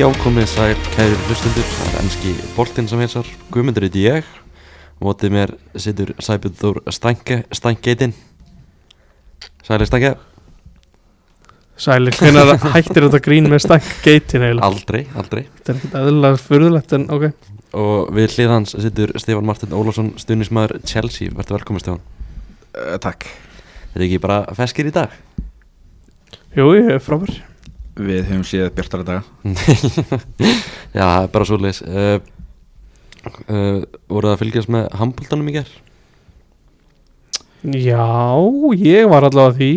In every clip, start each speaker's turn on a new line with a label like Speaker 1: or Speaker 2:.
Speaker 1: Já, komið sæl, kæri hlustundur, það er enski boltinn sem heilsar, Guðmundur heiti ég, mótið mér situr Sæbjörn Þór Stænke, Stænkeitinn, Sæli Stænke,
Speaker 2: Sælir, hvenar hættir þetta grín með stæk geitin eiginlega?
Speaker 1: aldrei, aldrei,
Speaker 2: Þetta er ekkert eðlilega furðulegt en ok
Speaker 1: og við hlið hans situr Stefán Martin Ólafsson, stuðnismæður Chelsea, verður velkomin Stefán,
Speaker 3: Uh, takk.
Speaker 1: þetta er ekki bara feskir í dag?
Speaker 2: Jú, ég er frábær
Speaker 3: Við höfum séð bjartara daga.
Speaker 1: Já, það er bara svo leis, uh, uh, voruð það að fylgjast með handbóltanum í gerð?
Speaker 2: Já, ég var allavega því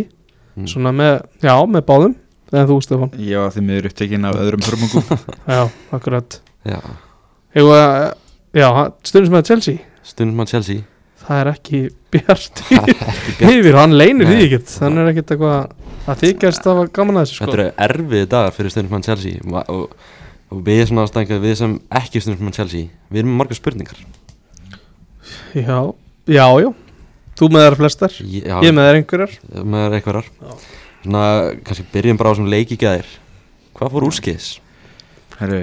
Speaker 1: Mm.
Speaker 2: Svona með, já, með báðum En þú, Stefán
Speaker 3: Ég var því miður upptekinn af öðrum hörmungum.
Speaker 2: Já, akkurat
Speaker 1: Já,
Speaker 2: Jú, eh, já, stundum sem að Chelsea
Speaker 1: stuðnismæður Chelsea,
Speaker 2: Það er ekki bjart
Speaker 1: ekki bjart.
Speaker 2: yfir, hann leynir því
Speaker 1: Nei.
Speaker 2: ekkert Þannig er ekkert eitthvað að þykjast að gaman að þessu
Speaker 1: Þetta
Speaker 2: sko.
Speaker 1: eru erfiði dagar fyrir stundismann Chelsea og, og, og við svona ástæðingar, við sem ekki stundismann Chelsea, við erum með margar spurningar.
Speaker 2: Já, já, já Þú með þær flestar,
Speaker 1: Já,
Speaker 2: ég með þær einhverjar
Speaker 1: með einhverjar.
Speaker 2: Já.
Speaker 1: Svona, kannski byrjum bara á sem leiki gæðir. Hvað fór úrskis?
Speaker 3: Herru,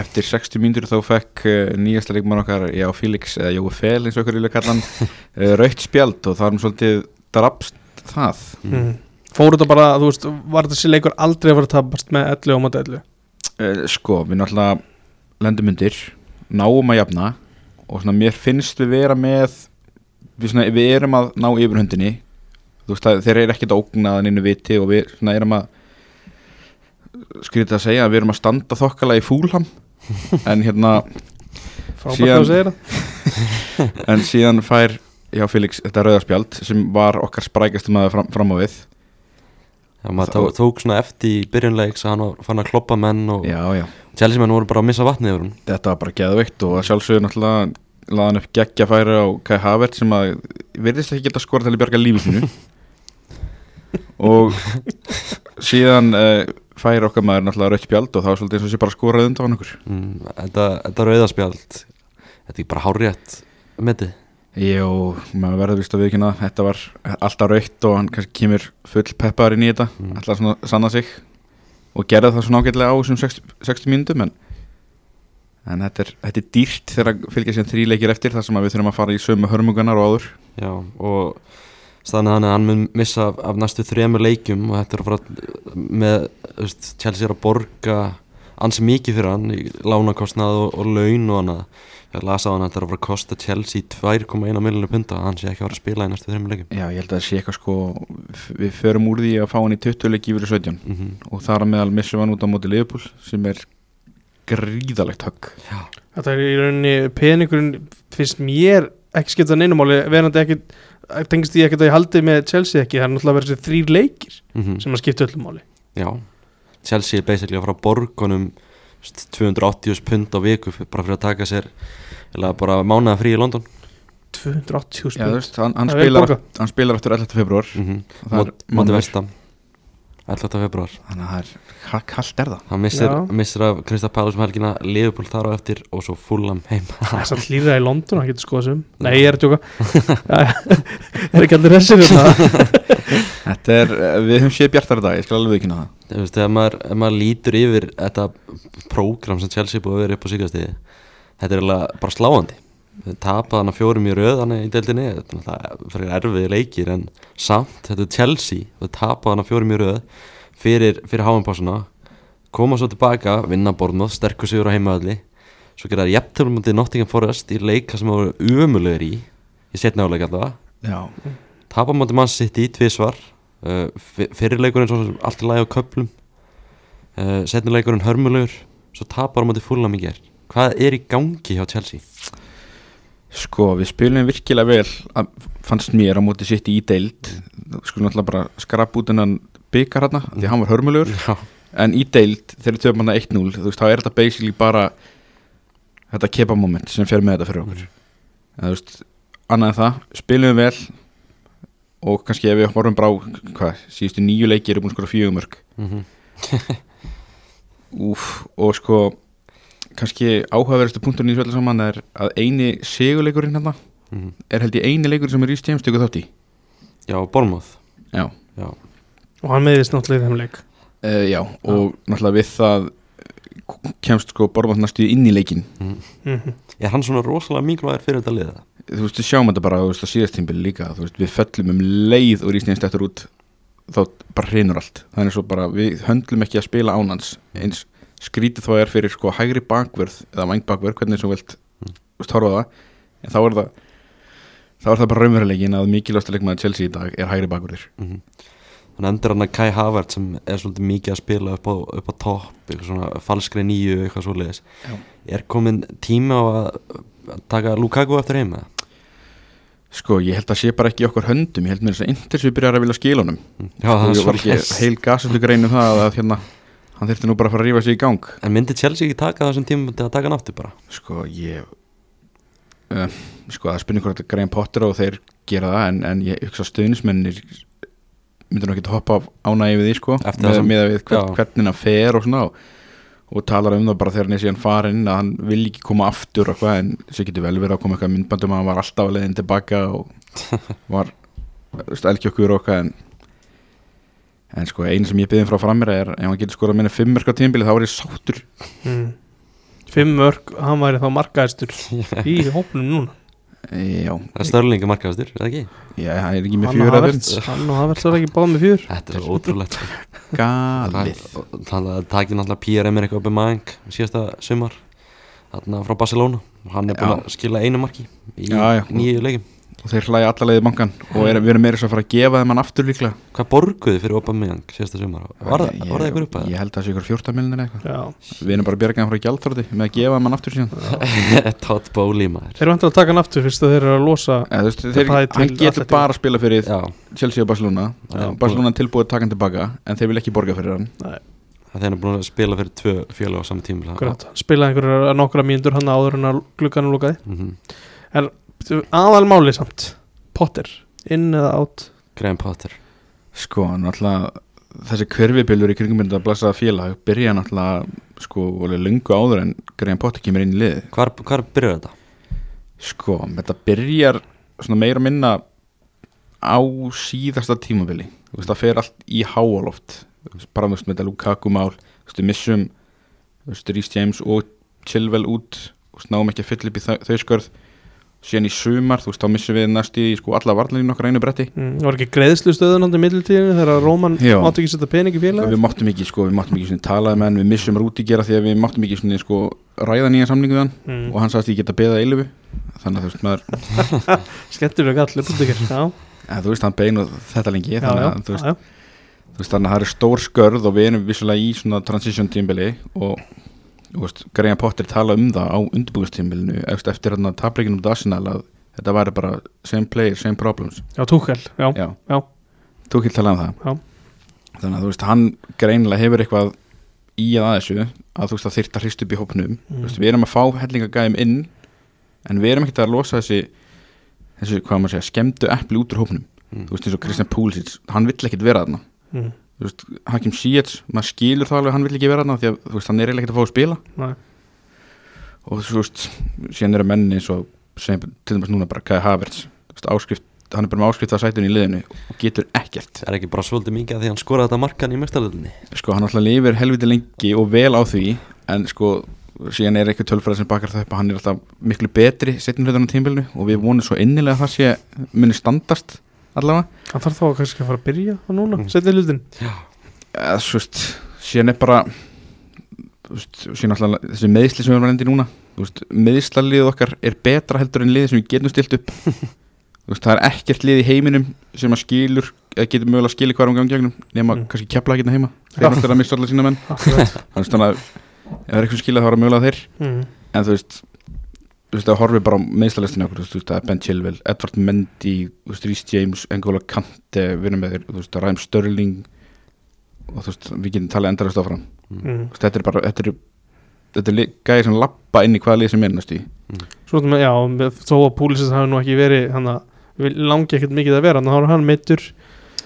Speaker 3: eftir 60 mínútur þá fekk uh, nýjasta leikmann okkar, já, Félix eða Jói Fel, eins og okkur vilja kalla hann, uh, raut spjald og það er um svolítið drapst það.
Speaker 2: mm. Fóru þetta bara, þú veist, var þessi leikur aldrei að vera tapast með 11 og mati 11
Speaker 3: Uh, sko, við náttúrulega lendum undir, náum að jafna og svona mér finnst við vera með, við, svona, við erum að ná yfir hundinni. Þú veist, það, þeir eru ekkert að ógna að neinu viti og við svona, erum að skrítið að segja að við erum að standa þokkala í fúlham en hérna
Speaker 2: Frábært að
Speaker 3: Síðan-
Speaker 2: þú segir það
Speaker 3: en síðan fær hjá Felix þetta rauðarspjald sem var okkar sprækastum að fram, fram á við
Speaker 1: Já, maður
Speaker 3: Það-
Speaker 1: tók, tók svona eftir í byrjunleiks að hann var fann að kloppa menn og
Speaker 3: já, já.
Speaker 1: Chelsea menn voru bara að missa vatnið yfir hún.
Speaker 3: þetta var bara geðveikt og að sjálfsögðu náttúrulega laði hann upp geggja færi á Kai Havert sem að virðist ekki geta skorað til að bjarga lífi sinu og síðan uh, fær okkar maður náttúrulega rauðspjald og það var svolítið eins og sé bara skorað undan okkur
Speaker 1: Mm, þetta, þetta rauðaspjald, þetta er ekki bara hárétt metið.
Speaker 3: Jó, maður verður vist að viðkynna það. þetta var alltaf raukt og hann kannski kemur full peppar inn í þetta
Speaker 1: Mm.
Speaker 3: alltaf svona að sanna sig og gerði það svona ágætlega á þessum 60, 60 mínútum en, en þetta, er, þetta er dýrt þegar að fylgja sér þrý leikir eftir þar sem að við þurfum að fara í sömu hörmungunar og áður
Speaker 1: Já, og staðan er þannig að hann mun missa af, af næstu þremur leikjum og þetta er að fara með þú veist, Chelsea er að borga ansi mikið fyrir hann í lánakostnað og, og laun og annað ég las á hann að þetta er að fara að kosta Chelsea 2,1 millinu punta að hann sé ekki að fara að spila í næstu þremur leikjum
Speaker 3: Já, ég held að það sé eitthvað sko f- við förum úr því að fá hann í 20 leiki yfir í 17
Speaker 1: mm
Speaker 3: og þar að meðal missum hann út á móti Leifbúl sem er gríðalegt högg
Speaker 2: Þetta er í rauninni peningurinn finnst mér ekki skipta neinumáli verandi ekki, tengist því ekkert að ég haldi með Chelsea ekki, það er náttúrulega verið þessi þrýr leikir sem að skipta öllum máli
Speaker 1: Mhm. Já, Chelsea er basically að fara að borga honum þú veist, 280 pund á viku f- bara fyrir að taka sér eða bara mánaða frí í London
Speaker 2: 280
Speaker 3: Já, þú
Speaker 2: spil
Speaker 3: veist, hann, hann,
Speaker 2: Það er vel
Speaker 3: spilar,
Speaker 2: borgað.
Speaker 3: hann spilar eftir 11. februar
Speaker 1: mm -hmm.
Speaker 3: og það er
Speaker 1: Móti
Speaker 3: mánuður.
Speaker 1: vestam 11. februar
Speaker 3: Þannig að það er, hvað kallt er það?
Speaker 1: Hann missir,
Speaker 2: Já.
Speaker 1: missir af Krista Pálus um helgina, Liverpool þar á eftir og svo Fulham heima
Speaker 2: Það er samt líða í London, hann getur skoða sem
Speaker 3: Mm.
Speaker 2: Nei, ég er að tjóka Er ekki allir resir hérna
Speaker 3: Þetta er, eh, við höfum séð bjartara dag, ég skal alveg viðkynna það
Speaker 1: Þú veist, ef maður, ef maður lítur yfir þetta prógram sem Chelsea er búið að vera upp á síkastíði Þetta er eiginlega bara sláandi Þau tapa hann að fjórum í röð hann í deildinni Þetta er náttúrulega fyrir erfið leikir en samt, þetta er Chelsea Þau tapa hann að fjórum í röð fyrir, fyrir háinpásuna koma svo tilbaka, vinna borðnóð, sterkur sigur á heimaðalli svo gera þær jafntöflum mútið Nottingham Forest í leika sem það voru umulegur í í setna áleika allavega
Speaker 3: Já,
Speaker 1: Tapa móti mann sitt í tvísvar uh, fyr- Fyrri leikurinn svo sem allt í lagi á köplum uh, Setni leikurinn hörmulegur Svo tapar á móti fúlnam í ger Hvað er í gangi hjá Chelsea?
Speaker 3: sko, við spilum virkilega vel að, fannst mér á móti sitt í deild skulum alltaf bara skrap út innan byggar hana, því hann var hörmulegur
Speaker 1: Já,
Speaker 3: en í deild, þegar við töfum hana 1-0 þú veist, þá er þetta basically bara þetta kepa-moment sem fer með þetta fyrir okkur en, þú veist, annað en það, spilum við vel og kannski ef við horfum bara á hvað, síðustu nýju leiki eru búin skora fjögumörk
Speaker 1: mhm,
Speaker 3: Úf, og sko kannski áhugaverðustu punkturinn í þessu öllu saman er að eini seguleikurinn hérna
Speaker 1: mhm.
Speaker 3: er held ég eini leikur sem er í stjæmstöku þátt í
Speaker 1: Já, Bormoth
Speaker 3: Já,
Speaker 1: Já,
Speaker 3: Eh,
Speaker 2: Og hann meðist náttúrulega í þeim leik
Speaker 3: uh, já og náttúrulega við það kemst sko Bormóð næstu inn í leikin
Speaker 2: Mhm.
Speaker 1: Er hann svona rosalega mikilvægur fyrir þetta liða?
Speaker 3: þú veist, við sjáum þetta bara, þú veist, á síðast tímbil líka þú veist, við föllum um leið og Íslands eftir út, þá bara hreinur allt þannig svo bara, við höndlum ekki að spila ánans eins skrítið þá er fyrir sko hægri bakvörð eða vangbakvörð, hvernig sem þú vilt
Speaker 1: Mm.
Speaker 3: þú veist, horfa á það, en þá er það þá er það bara raunverulegin að mikilvægsta leikmaður Chelsea í dag er hægri bakvörður
Speaker 1: Mm Hann endur hann að Kai Havert sem er svolítið mikið að spila upp á, upp á topp, eitthvað svona falskri nýju, eitthvað svoleiðis.
Speaker 3: Já.
Speaker 1: Er komin tími á að að taka Lukaku eftir heim eða?
Speaker 3: sko, ég held að sé bara ekki í okkar höndum ég held mér þess að Intersvið byrjar að vilja skila honum
Speaker 1: Mhm. Já, það
Speaker 3: og
Speaker 1: er
Speaker 3: ég var ekki
Speaker 1: svoleiðis.
Speaker 3: heil gasaslu grein um það að hérna, hann þurfti nú bara að fara að rífa sig í gang
Speaker 1: En myndi Chelsea ekki taka þessum tíma til að taka hann aftur bara?
Speaker 3: Sko ég
Speaker 1: Eh.
Speaker 3: uh, Sko það spynir hvort að Graham Potter og þeir gera það en, en ég hugsa stuðnismennir myndir nú ekki að hoppa af ánægi við því sko
Speaker 1: Eftir það
Speaker 3: með,
Speaker 1: sem-
Speaker 3: með að við hvern,
Speaker 1: já.
Speaker 3: hvernig hann fer og svona og, og talar um það bara þegar hann er síðan farinn að hann vil ekki koma aftur og hvað en sér getur vel verið að koma eitthvað myndbandum að hann var alltaf að leiðin tilbaka og var elgjökkur og hvað en en sko einu sem ég byrði frá framir er ef hann getur skorað minni fimmmerka tímbili þá er ég sáttur
Speaker 2: Mhm. Fimm mörg, hann væri þá markaðistur í hópnum núna
Speaker 3: Eh, já,
Speaker 1: Það er störlinga markaðastur, er það ekki?
Speaker 3: já, hann er ekki með
Speaker 2: Hann og
Speaker 3: fjögur eða fimm.
Speaker 2: Havertz, hann og Havertz er ekki báð með fjör
Speaker 1: Þetta er svo ótrúlegt. sko.
Speaker 3: galið
Speaker 1: Það- og- Þannig að það takir náttúrulega Pierre Emerick Aubameyang síðasta sumar, þarna frá Barcelona. Hann er búin
Speaker 3: Já.
Speaker 1: að skila einu marki í
Speaker 3: Já, já.
Speaker 1: nýju leikum.
Speaker 3: og þeir hlæja allalegið bankan og er, við erum meira svo að fara að gefa þeim hann aftur líklega
Speaker 1: Hvað borguðu fyrir Aubameyang síðasta sumar? Var, það-
Speaker 3: Ég-
Speaker 1: var það ykkur upp að
Speaker 3: ég held að það sé ykkur 14 miljonir eitthvað
Speaker 2: Já.
Speaker 3: við erum bara að bjarga þeim frá gjaldþróti með að gefa þeim hann aftur síðan
Speaker 1: Todd Bowley maður
Speaker 2: Þeir eru vantilega að taka hann aftur fyrst að þeir eru að losa
Speaker 3: Eða, þú veist,
Speaker 2: Það
Speaker 3: þeir,
Speaker 2: er til
Speaker 3: hann getur
Speaker 2: Atletico.
Speaker 3: bara að spila fyrir
Speaker 1: Já,
Speaker 3: Chelsea og Barcelona
Speaker 1: Já.
Speaker 3: Barcelona er tilbúið að taka hann tilbaka en þeir vil ekki borga fyrir hann
Speaker 1: það er búin að spila fyrir tvö fjölu á saman tíma
Speaker 2: Akkurat, hann spilaði einhverjar nokkra mínútur hann áður en að glugganum lokaði
Speaker 1: mm -hmm.
Speaker 2: aðalmáli samt, Potter inn eða átt
Speaker 1: Graham Potter
Speaker 3: sko, náttúrulega þessi körfibillur í kringum þetta blessaða félag byrja náttúrulega sko, alveg lungu áður en Graham Potter kemur inn í liðið
Speaker 1: Hvar, hvar byrjar þetta?
Speaker 3: Sko, þetta byrjar svona meira og minna á síðasta tímabili Þú veist, það fer allt í háaloft bara þú veist, með þetta Lukaku-mál Þú veist, við missum þú veist, Rhys James og Chilwell út og snáum ekki að fylla upp í þau, þau skörð síðan í sumar, þú veist, þá missum við næstu í sko alla varnarinn okkar á einu bretti
Speaker 2: mm, var ekki greiðslu stöðun hann í middiltíðinu þegar að Róman
Speaker 3: Já.
Speaker 2: mátti ekki setja pening í
Speaker 3: Við
Speaker 2: félagi
Speaker 3: máttum ekki, sko, við máttum ekki svona talaði með hann, við missum Rúti gera því að við máttum ekki svona, sko, ræða nýja samningu við hann
Speaker 2: mm,
Speaker 3: og hann sagðist ég geta beðað eilifu þannig að þú veist, maður
Speaker 2: skemmtilega allir búndikir já,
Speaker 3: En þú veist, hann beinu þetta lengi
Speaker 2: já,
Speaker 3: þannig
Speaker 2: já,
Speaker 3: að þú veist,
Speaker 2: já, já.
Speaker 3: þú veist, þannig að það er stór skörð og við erum vissulega í svona transition tímbili og, þú veist, Graham Potter tala um það á undirbúðstímbilinu eftir þarna tapleikin um Darsenal að þetta væri bara same player, same problems
Speaker 2: já, Túkel, já,
Speaker 3: Já,
Speaker 2: já.
Speaker 3: þú kilt tala um það
Speaker 2: Já.
Speaker 3: Þannig að þú veist, hann greinilega hefur eitthvað í að að þessu að þú veist, það þyrft að hrist upp í hópnum Þú veist,
Speaker 2: Mm.
Speaker 3: við erum að fá hellingagæðum inn en við erum ekkert að losa þessi þessi, hvað á maður að segja, skemmdu eppli út úr hópnum
Speaker 1: Mm.
Speaker 3: þú veist, eins og Christian Pulisic, hann vill ekkert vera þarna
Speaker 2: Mm.
Speaker 3: þú veist, Hakim Ziyech, maður skilur það alveg að hann vil ekki vera þarna því að þú veist, hann er eiginlega ekkert að fá að spila
Speaker 2: Nei.
Speaker 3: og þú veist, síðan eru menni eins og sem, til dæmis núna bara Kai Havertz þú veist, áskrift, hann er bara með áskrift að sætunni í liðinu og getur ekkert
Speaker 1: Er ekki bara svolítið mikið að því hann skoraði þetta markan í mestarleitinni?
Speaker 3: sko, hann alltaf lifir helviti lengi og vel á því en sko, síðan er eitthvað tölfræð sem bakar það upp að hann er alltaf miklu betri setjum hlutunum tímbilinu og við vonum svo innilega að það sé muni standast allavega
Speaker 2: hann þarf þá kannski að fara að byrja á núna,
Speaker 1: Mm.
Speaker 2: setja hlutin
Speaker 3: eða, þú veist, síðan er bara þú veist, síðan alltaf þessi meðsli sem við erum að lenda í núna þú veist, meðslalið okkar er betra heldur en liðið sem við getum stilt upp þú veist, það er ekkert lið í heiminum sem að skilur, eða getur mögulega að skilja hverjum gangjöngnum, nema
Speaker 2: Mm.
Speaker 3: kannski kepla ekki heima, þeir eru alltaf að mista allar sína menn
Speaker 2: akkurat
Speaker 3: Þú veist, þannig að ef það er eitthvað skilja þá er það mögulega þeir
Speaker 2: mm.
Speaker 3: en þú veist þú veist, það horfið bara á meðslalistinu okkur þú veist, þú veist, það er Ben Chilwell, Edward Mendy þú veist, Rhys James, N'Golo Kante við erum með þeir, þú veist, Ræm Störling og þú veist, við getum talað endarast áfram þú
Speaker 2: Mm.
Speaker 3: veist, þetta er bara, þetta er þetta er gæði sem lappa inn í hvaða lið sem er næstu í
Speaker 2: Svo, ertu með- já, með- þó að Púlisins hafi nú ekki verið hann að við langi ekkert mikið að vera þannig að hann meittur,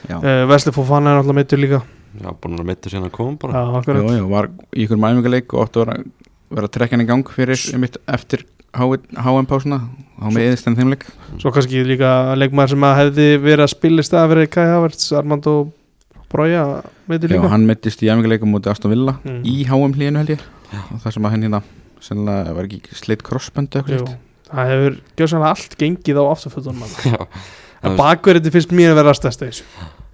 Speaker 3: já,
Speaker 2: uh, Vesli Fofana er alltaf meittur líka
Speaker 1: Já, búin að meittu síðan að koma bara
Speaker 2: já, akkurat
Speaker 3: já, já, var í ykkur mæmingaleik og óttu að vera- vera að trekja hann í gang fyrir einmitt eftir HM-pásuna og hann með eðist enn þeimleik
Speaker 2: Svo kannski líka leikmaður sem að hefði verið að spila í stað að vera Kai Havertz, Armando Broja veitur
Speaker 3: já,
Speaker 2: líka
Speaker 3: hann meittist í æfingaleikum mútið Aston Villa
Speaker 2: Mm.
Speaker 3: í HM hlíðinu held ég það sem að henni hérna sennilega var ekki sleitt crossbönd
Speaker 2: Jú,
Speaker 3: eða eitthvað slíkt.
Speaker 2: það hefur gjössanlega allt gengið á afturfötunum mann.
Speaker 1: Já,
Speaker 2: En bakverðið finnst mér að vera að stæsta þessu.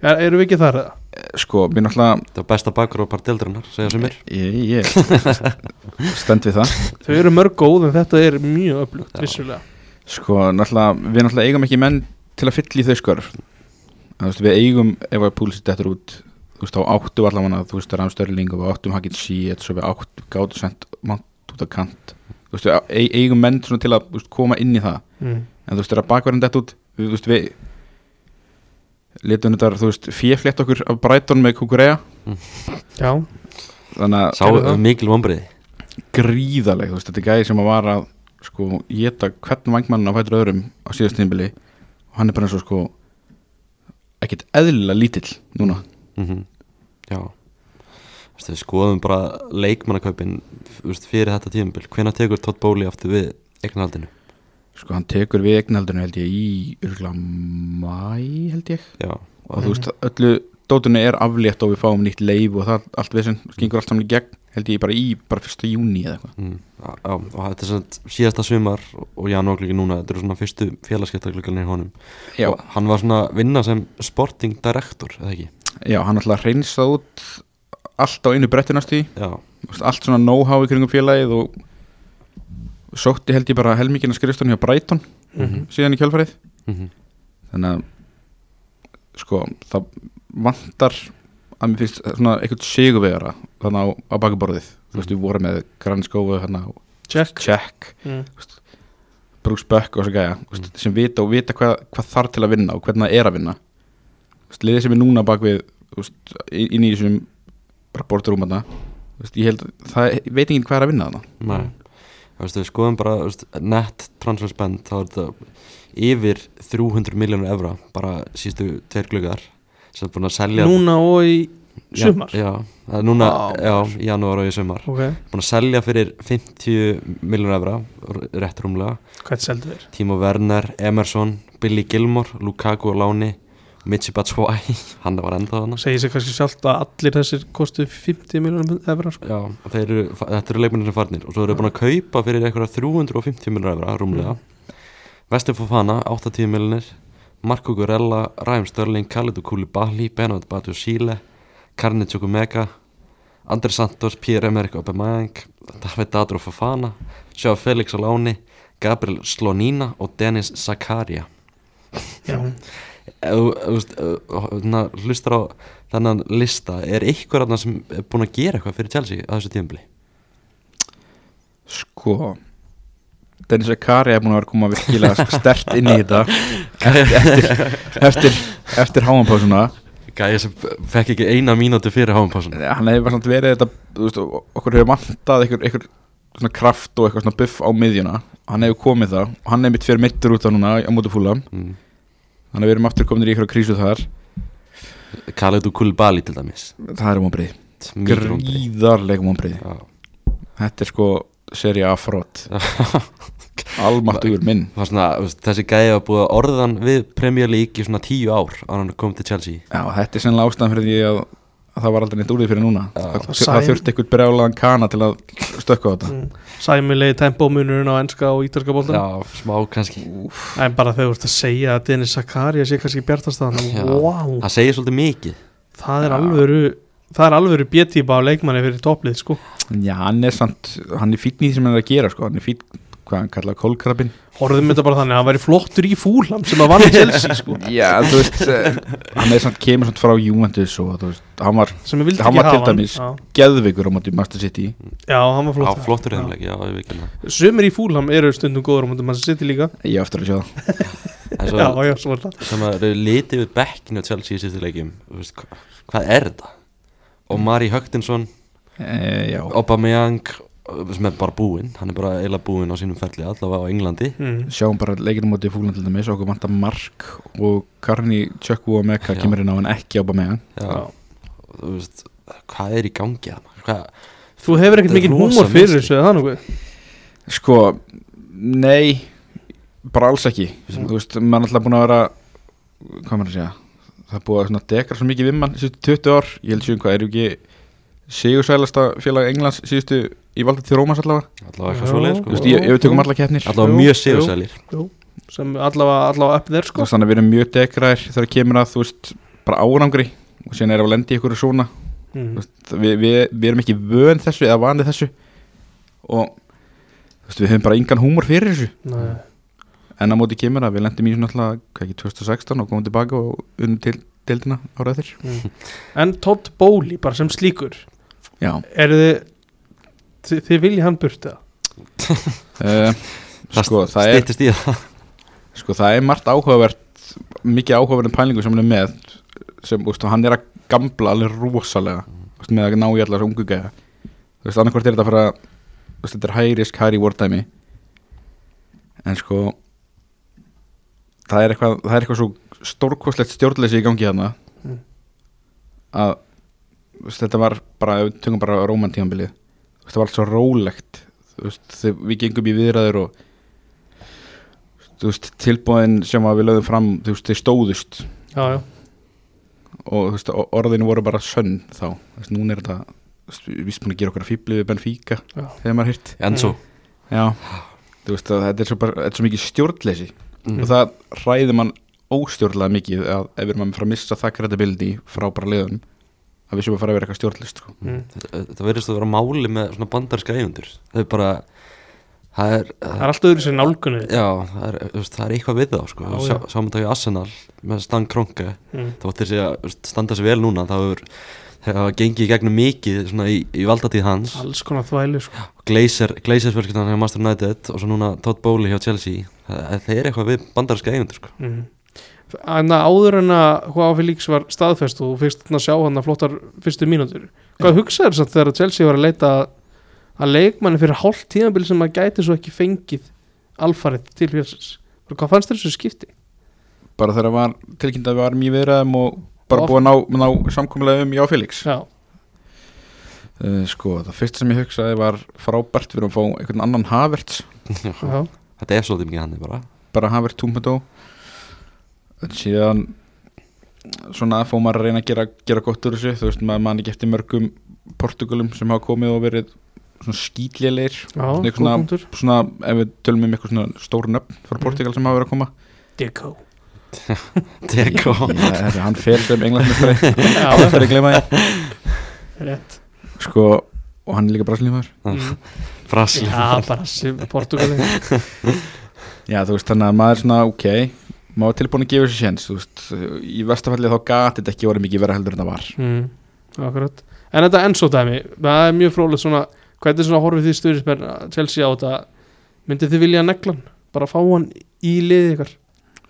Speaker 2: Er, erum við ekki þar eða?
Speaker 3: sko, mér náttúrulega
Speaker 1: það var besta bakgrópar deildarinnar, segja sem er
Speaker 3: ég, ég stend við það
Speaker 2: Þau eru mörg góð en þetta er mjög öflugt,
Speaker 1: Já.
Speaker 2: vissulega.
Speaker 3: sko, náttúrulega, við náttúrulega eigum ekki menn til að fylla í þau skörf Þú veist, við eigum, ef að púlisitt þetta út þú veist, þá áttum allan hana, þú veist, Ramstörling og við áttum Hakin Sheet svo við áttum gátu sent mant út af kant þú veist, við ei- eigum menn svona til að þú veist, koma inn í það
Speaker 2: Mm.
Speaker 3: en þú veist, þegar bakverðin dett út við, þú veist, við letum þetta, þú veist, fjöflétt okkur af Brighton með Kukurea
Speaker 2: Já,
Speaker 3: þannig
Speaker 1: Sá
Speaker 2: Gerðu það.
Speaker 1: mikil vombriði
Speaker 3: að gríðaleg, þú veist, þetta er gæði sem að var að sko, geta hvern vangmann á fætur öðrum á síðast tímbili og hann er bara eins og sko ekkert eðlilega lítill núna
Speaker 1: mm Já Vistu, Við skoðum bara leikmannakaupin vistu, fyrir þetta tímabil, hvenær tekur Todd Bóli aftur við eignarhaldinu?
Speaker 3: sko, hann tekur við eignaldinu held ég í örgulega mæ held ég
Speaker 1: Já,
Speaker 3: og þú veist, öllu dótunni er aflétt og við fáum nýtt leif og það allt við sem gengur allt saman í gegn held ég bara í, bara fyrsta júni eða eitthvað
Speaker 1: mm, á, á, og þetta er svona síðasta sumar og janúarglögin núna, þetta eru svona fyrstu félagskeptaglöginir honum
Speaker 3: Já.
Speaker 1: og hann var svona að vinna sem sporting director, eða ekki?
Speaker 3: Já, hann ætlaði að reynsa út allt á einu bretti næstu í
Speaker 1: Já,
Speaker 3: Þú veist, allt svona know-how í kringum félagið og sótti held ég bara helmingina skrifstun hjá Brighton
Speaker 2: Mhm.
Speaker 3: síðan í kjálfarið
Speaker 1: mm
Speaker 3: þannig að sko, það vantar að mér finnst svona eitthvað sigurvegara þannig á, á bakborðið þú veist, við vorum með Granskófu hérna og
Speaker 2: check.
Speaker 3: Jack,
Speaker 2: Mm.
Speaker 3: Bruce Buck og svo gæja þú veist, sem vita og vita hvað, hvað þarf til að vinna og hvernig það er að vinna Þú veist, liðið sem er núna bak við þú veist, í- inn í þessum bara bortarum þarna þú veist, ég held, að það ég veit enginn hvað er að vinna þarna
Speaker 1: nei
Speaker 2: Mm.
Speaker 1: Þú veist, við skoðum bara þú veist, net transfer spend, þá er þetta yfir 300 miljónur evra bara sístu tveir glöggar sem er búin að selja
Speaker 2: Núna og í sumar.
Speaker 1: Já, já, það er núna,
Speaker 2: Vá.
Speaker 1: já, í janúar og í sumar
Speaker 2: Ok,
Speaker 1: Búin að selja fyrir 50 miljónur evra, r- rétt rúmlega
Speaker 2: hvað seldu þeir?
Speaker 1: Timo Werner, Emerson, Billy Gilmore, Lukaku og Láni Mitsi Batshuayi, hann var enda þannig
Speaker 2: Segir sér kannski sjálft að allir þessir kostu 50 miljónum efra, sko.
Speaker 1: Já, þeir eru, þetta eru leikmennir sem farnir og svo eru búin að kaupa fyrir eitthvað 350 miljonar efra, rúmlega Vestur Fofana, 80 miljonir Marco Gurella, Ræm Störling Khalidou Koulibaly, Benoit Batu Sile Karni Tjokumega Andri Santos, Pierre-Emerick Aubameyang David Adro Fofana Sjá Felix Aláni, Gabriel Slonina og Dennis Zakaria
Speaker 2: Já.
Speaker 1: Ef þú- ef þú veist, ef þú na- hlustar á þennan lista er eitthvað annað sem er búin að gera eitthvað fyrir Chelsea á þessu tíðanbili
Speaker 3: sko Dennis Akari er búin að vera að koma virkilega stert inn í þetta eftir eftir, eftir háanpásuna
Speaker 1: Gæja sem fekk ekki eina mínúti fyrir hámpásun
Speaker 3: hann hefur bara samt verið þetta þú veist, okkur hefur mantað einhver, einhver svona kraft og eitthvað svona buff á miðjuna hann hefur komið það og hann hefur mitt fyrir mittur út á núna á móti fúla
Speaker 1: mm.
Speaker 3: þannig að við erum aftur kominir í eitthvað krísu þar
Speaker 1: Khalidou Koulibaly til dæmis
Speaker 3: það er vonbrið,
Speaker 1: Mikið vonbrigði.
Speaker 3: gríðarleg vonbrið
Speaker 1: Já.
Speaker 3: þetta er sko seria afrót almattugur minn
Speaker 1: Það var svona, þú veist, þessi gæja var búið að orðan við Premier League í svona tíu ár á hann kom til Chelsea
Speaker 3: Já, þetta er sennilega ástæðan fyrir því að, að það var aldrei neitt úr því fyrir núna það,
Speaker 2: Og
Speaker 3: það
Speaker 2: Sæm-
Speaker 3: þurfti einhvern brjálaðan kana til að stökka á þetta
Speaker 2: Mm. Sæmilegi tempómunurinn á enska og ítalska bóltan.
Speaker 1: Já, smá kannski
Speaker 2: En bara þegar þú ert að segja að Dennis Zakaria sé kannski bjartastaðan.
Speaker 1: Já.
Speaker 2: Wow,
Speaker 1: Það segir svolítið mikið
Speaker 2: það er alvöru... Það er alvöru bjettípa á leikmanni fyrir topplið sko
Speaker 3: Já, hann er samt, hann er fítn í því sem hann er að gera sko. hann er fítn, hvað hann kallaði kólkrabin
Speaker 2: Horfðum þetta bara þannig að hann væri flottur í fúlam sem að vann Chelsea sko
Speaker 3: Já, þú veist eh, hann er samt, kemur samt frá Juventus og þú veist, hann var
Speaker 2: sem ég vildi
Speaker 3: Hann
Speaker 2: ekki
Speaker 3: var
Speaker 2: hafa
Speaker 3: til dæmis-
Speaker 2: hann.
Speaker 3: geðveikur á móti Master City
Speaker 2: Já, Já, hann var
Speaker 1: Á
Speaker 2: flottur
Speaker 1: flottur
Speaker 2: Já.
Speaker 1: reyðanleik, já, ég veit ekki það
Speaker 2: Sumir í fúlam eru stundum góður á mútið mann sem sitt líka
Speaker 3: ég á eftir að sjá það
Speaker 1: En
Speaker 2: Já,
Speaker 1: svo,
Speaker 2: já, svona
Speaker 1: sem að eru litið við bekkinu á Chelsea í sýttu leikjum þú veist, hva- Hvað er þetta? Og Mari Högtinsson,
Speaker 3: e, Já,
Speaker 1: Aubameyang sem er bara búinn, hann er bara eiginlega búinn á sínum ferli allavega á Englandi
Speaker 2: mm.
Speaker 3: sjáum bara leikinu móti fúlan til dæmis okkur vantar Mark og Karni Tjökku og Mekka
Speaker 1: Já.
Speaker 3: kemur inn á hann ekki á Bameyang
Speaker 1: Já, þú veist, hvað er í gangi þarna? Hvað,
Speaker 2: Þú hefur
Speaker 1: Þetta
Speaker 2: ekkert
Speaker 1: er
Speaker 2: mikið
Speaker 1: rosa
Speaker 2: húmor fyrir
Speaker 1: mistök.
Speaker 2: þessu eða það nokkuð
Speaker 3: Sko, nei bara alls ekki
Speaker 1: Mm.
Speaker 3: þú veist, maður er alltaf búin að vera hvað maður að segja, það er búið að svona dekra svo mikið við mann síðustu 20 ár, ég held sjöum hvað er ekki Sigur sælasta félag Englands síðustu í valda til Rómas allavega
Speaker 1: Allavega
Speaker 2: Já.
Speaker 1: eitthvað svoleið
Speaker 3: Þú veist, ég,
Speaker 1: sko.
Speaker 3: ég við tökum allar keppnir
Speaker 1: Allavega
Speaker 2: Jú,
Speaker 1: mjög
Speaker 2: jú.
Speaker 1: sigursælir
Speaker 2: sem allavega, allavega upp þér
Speaker 3: Þú
Speaker 2: sko
Speaker 3: veist, þannig að við erum mjög degraðir þegar kemur að, þú veist, bara árangri og síðan erum við að lenda í ykkur svona
Speaker 2: mm.
Speaker 3: Það- við, við, við erum ekki vön þessu eða vanið þessu og þú veist, við höfum bara engan húmor fyrir þessu
Speaker 2: Nei.
Speaker 3: en á móti kemur að við lendum í svona alltaf hvað ekki 2016 og komum tilbaka og unnum til deildina ára eftir
Speaker 2: en Todd Bowley bara sem slíkur
Speaker 3: já
Speaker 2: eru þið þið, þið viljið hann burta
Speaker 3: uh, sko, það er,
Speaker 1: Stýttist í það
Speaker 3: sko það er margt áhugavert mikið áhugaverðin pælingu sem hann er með sem úst, hann er að gambla alveg rosalega úst, með að ná í allar ungu gæða þú veist annarkvort er þetta að fara úst, þetta er high risk, high reward dæmi en sko það er eitthvað það er eitthvað svo stórkostlegt stjórnleysi í gangi þarna
Speaker 2: Mm.
Speaker 3: að úst, þetta var bara, ef við tökum bara róman tímanbilið þetta var allt svo rólegt þú veist, þegar við gengum í viðræður og þú veist, tilbúðin sem að við lögðum fram þú veist, þeir stóðust
Speaker 2: já, já.
Speaker 3: og þú veist, og orðin voru bara sönn þá, þú veist, núna er þetta þú veist, við vísum búin að gera okkur að fýbli við Benfica
Speaker 2: Já.
Speaker 3: þegar maður hýrt
Speaker 2: Mm.
Speaker 1: Enzo
Speaker 3: já, þú veist, að þetta er svo, bara, þetta er svo mikið stjórnleysi
Speaker 2: Mhm.
Speaker 1: Mm.
Speaker 3: og það ræðir mann óstjórnlega mikið að ef við erum að fara að missa það credibility frá bara liðunum að við séum að fara að vera eitthvað stjórnleyst sko.
Speaker 2: Mm.
Speaker 1: Þetta verðist eh, að vera máli með svona bandarska eigundur Það er bara Það er,
Speaker 2: það er alltaf öðru sér nálgunni
Speaker 1: Já, það er, þú veist, það er eitthvað við þá sko.
Speaker 2: Já,
Speaker 1: Sjá,
Speaker 2: já.
Speaker 1: Sáum þetta í Arsenal með Stan Kronke
Speaker 2: mm.
Speaker 1: þá ætti þessi að þú veist, standa sig vel núna þá hefur það gengið í gegnum mikið svona í, í valdatíð hans
Speaker 2: alls konar þvælu sko.
Speaker 1: Glazer, Glazers fjölskyldan hjá Master United og svo núna Todd Bowley hjá Chelsea það, það er eitthvað við bandarska eigundur sko.
Speaker 2: mm. en að áður en að hvað Félix var staðfest og þú fyrst að sjá hann að flottar fyrstu mínútur hvað hugsaður þess að þegar Chelsea var að leita að leikmanni fyrir hálft tíðanbili sem að gæti svo ekki fengið alfarið til félsins hvað fannst þér þessu skipti?
Speaker 3: bara þegar var tilkynnt að við varum í viðræðum og bara
Speaker 2: Og-
Speaker 3: búið að ná, ná samkomulega um já Felix
Speaker 2: Já,
Speaker 3: Uh, sko, það fyrst sem ég hugsaði var frábært við erum að fá einhvern annan Havertz
Speaker 2: já,
Speaker 1: þetta er svolítið mikið hann bara
Speaker 3: bara Havertz 2.0 en síðan svona fór maður að reyna að gera, gera gott úr þessu, þú veist maður mann ekki eftir mörgum Portugalum sem hafa komið og verið svona skýtlélir
Speaker 2: já,
Speaker 3: Svona
Speaker 2: góð
Speaker 3: einhvern veginn-
Speaker 2: punktur
Speaker 3: svona ef við tölum um eitthvað svona stóru nöfn frá
Speaker 2: Mm.
Speaker 3: Portugal sem hafa verið að koma
Speaker 2: Deco
Speaker 1: Deco
Speaker 3: Já, herri, hann fer sem englandmestari
Speaker 2: Já,
Speaker 3: það er að gleyma því
Speaker 2: rétt
Speaker 3: sko, og hann er líka brasilímaður
Speaker 2: Mm.
Speaker 1: Brasil
Speaker 2: Já, bara sem Portugali
Speaker 3: Já, þú veist, þannig að maður er svona, ok maður er tilbúin að gefa sér séns, þú veist í vestafallið þá gati þetta ekki orðið mikið vera heldur en það var
Speaker 2: mm. Akkurat En þetta Enzo dæmi, það er mjög frólægt svona Hvernig svona horfið þið stuðismenn Chelsea á þetta Myndið þið vilja neglan? Bara fá hann í liðið ykkar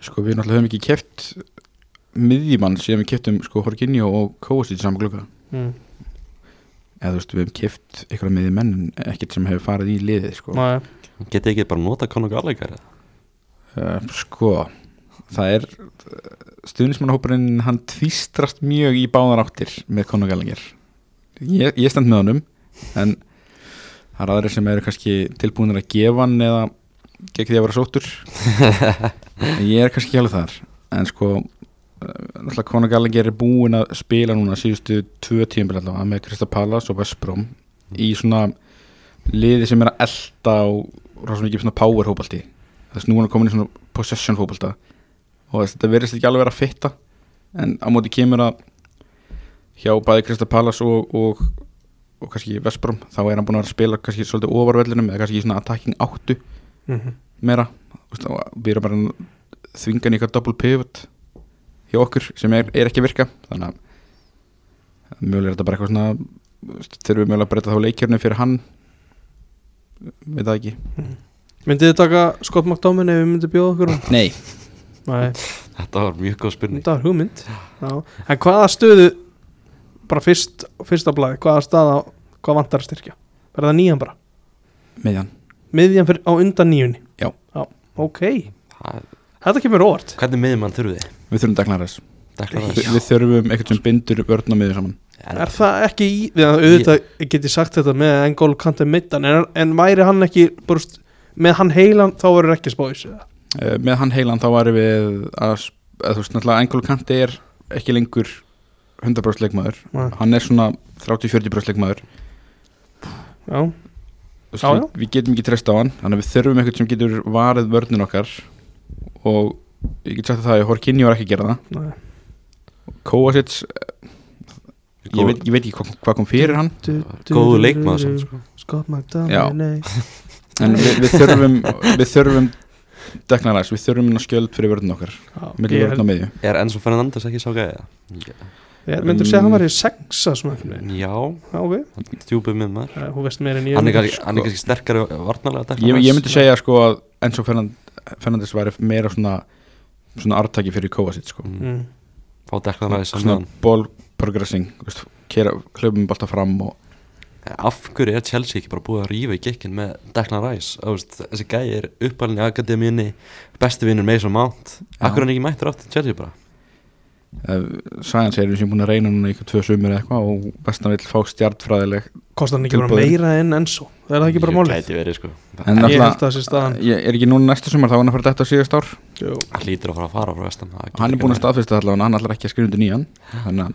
Speaker 3: Sko, við náttúrulega höfum ekki keft miðjumann síðan við keftum sko Horginjó og Kovacic saman glugga
Speaker 2: mm.
Speaker 3: eða þú veist, við höfum keft einhverja miðjumenn en ekkert sem hefur farið í liðið, sko
Speaker 2: Ná,
Speaker 1: getið ekki bara nota Conor Gallagher
Speaker 3: uh, Sko, það er stuðnismannhópurinn hann tvístrast mjög í báðar áttir með Conor Gallagher ég, ég stend með honum en það er aðri sem eru kannski tilbúinir að gefa hann eða gegn því að vera sóttur En ég er kannski ekki alveg þar en sko uh, náttúrulega Conor Gallagher er búin að spila núna síðustu tvö tímbil allavega með Krista Pallas og Vesprom í svona liði sem er að elda og rosa mikið svona power hópaldi þess nú er hann komin í svona possession fókbalta og þess, þetta verðist ekki alveg vera að fitta en á móti kemur að hjá bæði Krista Pallas og, og, og kannski Vesprum þá er hann búin að vera að spila kannski svolítið ofarvellinum eða kannski í svona attacking áttu
Speaker 2: mhm.
Speaker 3: meira þú veist, og við erum bara að þvinga hann í eitthvað double pivot hjá okkur sem er, er ekki að virka þannig að mjögulega er þetta bara eitthvað svona þú veist, þurfum við mjögulega að breyta þá leikjörnum fyrir hann veit það ekki
Speaker 2: Myndið þið taka Scott McDomin ef við myndið bjóða okkur hann?
Speaker 3: Nei,
Speaker 2: Nei,
Speaker 1: þetta var mjög góð spurning
Speaker 2: þetta var hugmynd Já. En hvaða stöðu bara fyrst, fyrsta blæði, hvaða staða hvað vantar að styrkja? Verða það nýjan bara
Speaker 3: með hann
Speaker 2: miðjan fyrir, á undan nýjunni
Speaker 3: Já.
Speaker 2: ok,
Speaker 1: Það-
Speaker 2: þetta kemur óvart
Speaker 1: hvernig miðjumann þurfið þið?
Speaker 3: Við þurfum Dagnar S
Speaker 1: Declan
Speaker 3: Vi-
Speaker 1: Rice?
Speaker 3: Við þurfum eitthvað sem bindur vörna miður saman
Speaker 1: En-
Speaker 2: er það ekki í, við að auðvitað get ég sagt þetta með Engol Kante mittan en, en væri hann ekki burst, með hann heilan þá verður ekki spóis
Speaker 3: uh, Með hann heilan þá varum við að, sp- að þú veist, náttúrulega Engul Kanti er ekki lengur 100% leikmaður
Speaker 2: Nei.
Speaker 3: hann er svona 30-40% leikmaður
Speaker 2: já,
Speaker 3: Þú veist,
Speaker 2: Já,
Speaker 3: við, við getum ekki treyst á hann þannig að við þurfum eitthvað sem getur varið vörnin okkar og ég get sagt það að Horkinni var ekki að gera það
Speaker 2: nei,
Speaker 3: Kovacic, eh, ég veit, ég veit ekki hvað, hvað kom fyrir hann
Speaker 2: Du- du-
Speaker 1: góðu
Speaker 2: du-
Speaker 1: leikmaður
Speaker 2: du-
Speaker 1: samt,
Speaker 2: du-
Speaker 1: sko.
Speaker 2: Scott
Speaker 3: Já.
Speaker 2: McDonald
Speaker 3: en við, við þurfum við þurfum deknaræs, við þurfum að skjöld fyrir vörnin okkar millir vörnin á miðju
Speaker 1: Er Enzo Fernandes ekki sá gæða?
Speaker 2: myndur segja að hann var í sexa svona einhvern veginn?
Speaker 1: Já,
Speaker 2: já ok,
Speaker 1: djúpið með maður
Speaker 2: Eh, hún veist meira en ég
Speaker 1: Hann er
Speaker 2: myndi-
Speaker 1: kannski- hann er kannski sterkari varnalega Declan
Speaker 3: ég, ég
Speaker 1: Rice.
Speaker 3: myndi segja sko að Enzo Fernan- Fernandes væri meira svona svona artaki fyrir Kovacic sko
Speaker 1: Mm,
Speaker 2: Mm.
Speaker 1: Fá Declan Rice
Speaker 3: svona
Speaker 1: saman
Speaker 3: ball progressing veist, kera, hlaupum balta fram og
Speaker 1: Eh, Af hverju er Chelsea ekki bara búið að rífa í gekkin með Declan Rice Þú veist, Þessi gæði er uppalinn í akademíunni Besti vinnur Mason Mount
Speaker 3: Já.
Speaker 1: Akkur hann ekki mættur aftur til Chelsea bara
Speaker 3: uh, Sæðan segir við sem búin að reyna núna í ykkur tvö sumur eða eitthvað og vestan vill fá stjartfræðileg
Speaker 2: kostar hann ekki bara
Speaker 3: Tilboðin.
Speaker 2: meira en Enzo það er það ekki bara
Speaker 1: Jú,
Speaker 2: málið
Speaker 1: Gæti verið sko
Speaker 3: en
Speaker 2: ég held að
Speaker 3: náttúrulega
Speaker 2: það sé staðan
Speaker 3: ég er ekki núna næsta sumar þá er hann að fara þetta á síðast ár
Speaker 2: Jú.
Speaker 1: Hann lítur að fara að fara frá vestan það getur
Speaker 3: hann er
Speaker 1: ekki
Speaker 3: búin
Speaker 1: verið.
Speaker 3: að staðfesta allavega hann ætlar ekki að skrifa undir nýjan þannig að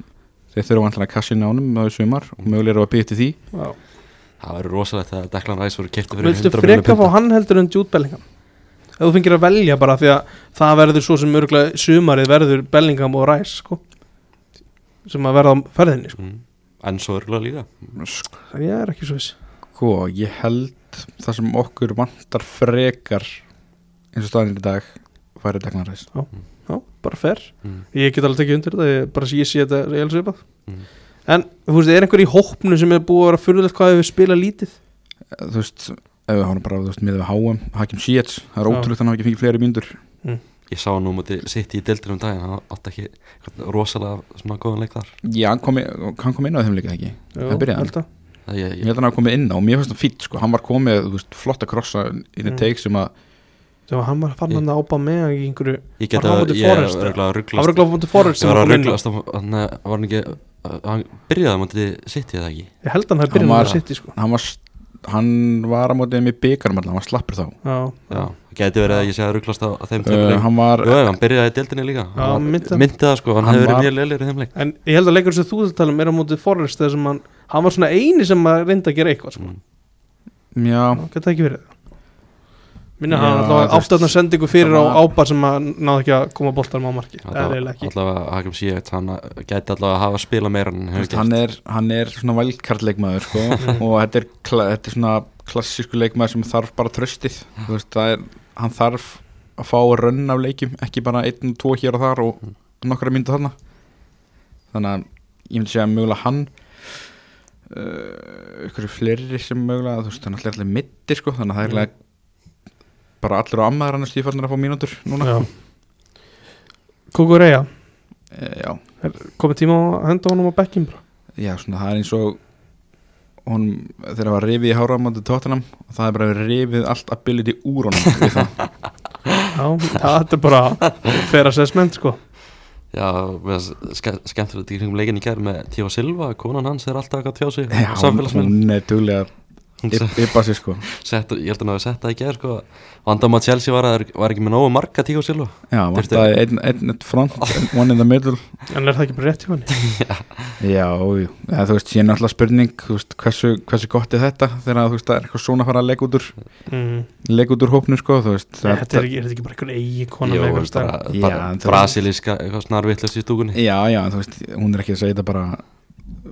Speaker 3: þeir þurfa alltaf að kassin á honum þá í sumar og mögulega eru að byggja til því
Speaker 2: Já.
Speaker 1: Það verður rosalegt að Declan Rice voru kipta fyrir
Speaker 2: Viltu
Speaker 1: 100 miljónum
Speaker 2: freka fá
Speaker 1: punta.
Speaker 2: hann heldur en Jude Bellingham? Ef þú fengir að velja bara því að það verður svo sem örgulega sumarið verður Bellingham og Ræs sko. sem að verða á ferðinni sko.
Speaker 1: Mm. Enzo örgulega líka
Speaker 2: Þannig ég er ekki svo viss
Speaker 3: sko ég held það sem okkur vantar frekar eins og staðin er í dag væri degnaræs
Speaker 2: Já, bara fer
Speaker 1: Mm.
Speaker 2: Ég get alveg tekið undir þetta, ég, bara sé- ég sé þetta ég elsvipað
Speaker 1: Mm.
Speaker 2: En þú veist, er einhver í hópnu sem er búið að vera fyrirlega hvað hefur spilað lítið?
Speaker 3: þú veist ef við horfum bara þú veist, með við HM Hakim Sietz það er
Speaker 2: Já.
Speaker 3: ótrúlegt að hann hafi ekki fengið fleiri mínútur
Speaker 1: Ég sá hann nú mútið sitt í deildir um daginn Hann átti ekki einhvern rosalega svona góðan leik þar
Speaker 3: já hann kom, í- hann kom inn á þeim líka ekki Það byrjaði
Speaker 2: held að
Speaker 1: Það ég,
Speaker 3: ég
Speaker 1: ég,
Speaker 3: held að hann hafi komið inn á og mér finnst það fýtt sko hann var komið þú veist flotta krossa inn í
Speaker 2: Mm.
Speaker 3: teik sem að
Speaker 2: Þegar hann var fann hann að ápa með í einhverju
Speaker 1: ég geta
Speaker 2: Var hann á móti
Speaker 1: Ég er
Speaker 2: Forest,
Speaker 1: örgulega
Speaker 2: eða? Það var
Speaker 1: rugglast
Speaker 2: örgulega fóndi Forrest
Speaker 1: Ég
Speaker 2: sem
Speaker 1: var að
Speaker 2: kom inn á.
Speaker 1: rugglast Hann eh, var hann ekki eh, Hann byrjaði á mútið sitt í það ekki
Speaker 2: Ég held að hann hafi
Speaker 3: Hann
Speaker 2: byrjað með
Speaker 3: var-
Speaker 2: að sitja sko.
Speaker 3: hann var s- hann var að mótið með byggarum alltaf hann var slappur þá
Speaker 2: Já,
Speaker 1: Já, gæti verið að ég sé að rugglast á á þeim tveim
Speaker 3: uh,
Speaker 1: leik
Speaker 3: hann var
Speaker 1: Jú, ef hann byrjaði í deildinni líka
Speaker 2: Já,
Speaker 1: Hann
Speaker 2: minnti
Speaker 1: var-
Speaker 2: það.
Speaker 1: Minnti það sko, hann
Speaker 3: Hann
Speaker 1: hefur verið
Speaker 3: var-
Speaker 1: mjög leilir í þeim leik
Speaker 2: En ég held að leikur sem þú ert að tala um er á mótið Forrest þegar sem hann, hann var svona eini sem að reynda að gera eitthvað sko.
Speaker 1: Mm.
Speaker 3: já
Speaker 2: Gæti það ekki verið það Minna
Speaker 3: Já,
Speaker 2: hann
Speaker 3: þú
Speaker 2: alltaf
Speaker 3: veist,
Speaker 2: áttöðna sendingu fyrir á
Speaker 3: það var-
Speaker 2: ábar sem að náði ekki að koma boltanum á marki Það er eiginlega ekki
Speaker 1: Allavega, Hakim Sjöet, hann eh, gæti allavega að hafa spila meira en hann hefur
Speaker 3: þú veist, hann er, hann er svona valkartleikmaður sko,
Speaker 2: Mm.
Speaker 3: og þetta er, kla, þetta er svona klassísku leikmaður sem þarf bara tröstið Þú veist, það er, hann þarf að fá rönn af leikjum, ekki bara einn og tvo hér og þar og
Speaker 2: Mm.
Speaker 3: nokkra myndu þarna þannig að ég myndi segja að mögulega hann uh, ykkur fleiri sem mögulega þú veist, hann er allir middi sko, þannig að það er
Speaker 2: Mm.
Speaker 3: mm. bara allir á ammaður hann er stífarnir að fá mínútur núna
Speaker 2: Já. Kukureya,
Speaker 3: Eh, já.
Speaker 2: komið tíma á að henda honum á bekkin bara
Speaker 3: Já, svona það er eins og hún, þegar það var rifið í háramöndu tóttanam og það er bara rifið allt ability úr honum við það.
Speaker 2: Já, það er bara fair assessment sko
Speaker 1: Já, mér finnst ske- skemmtilegt í kringum leikin um í kær með Tíó Silva, konan hans er alltaf eitthvað að tjá sig
Speaker 3: Já, hún-
Speaker 1: Samfélagsmynd
Speaker 3: hún er duglega
Speaker 1: Hún
Speaker 3: að yppa sig sko
Speaker 1: sett, Ég held að hann hafi sett það í kær sko. Vandamá Chelsea var að það var ekki með nógu marga Tíó Silva
Speaker 3: Já,
Speaker 1: Þurfti-
Speaker 3: vantaði einn ein, ein front, one in the middle
Speaker 2: En er það ekki bara rétt hjá henni?
Speaker 3: Já, jú. Eða, þú veist, ég er náttúrulega spurning þú veist, hversu, hversu gott er þetta þegar þú veist, það er eitthvað svona að fara að leika út úr
Speaker 2: Mm.
Speaker 3: leika út úr hópnu sko, þú veist
Speaker 2: Þetta er ekki, er þetta ekki bara einhver eigi kona með einhver stær
Speaker 1: bara,
Speaker 3: Já,
Speaker 1: bara
Speaker 3: en þú-
Speaker 1: brasilíska eitthvað snarvittlust í stúkunni
Speaker 3: Já, já, en þú veist, hún er ekki að segja þetta bara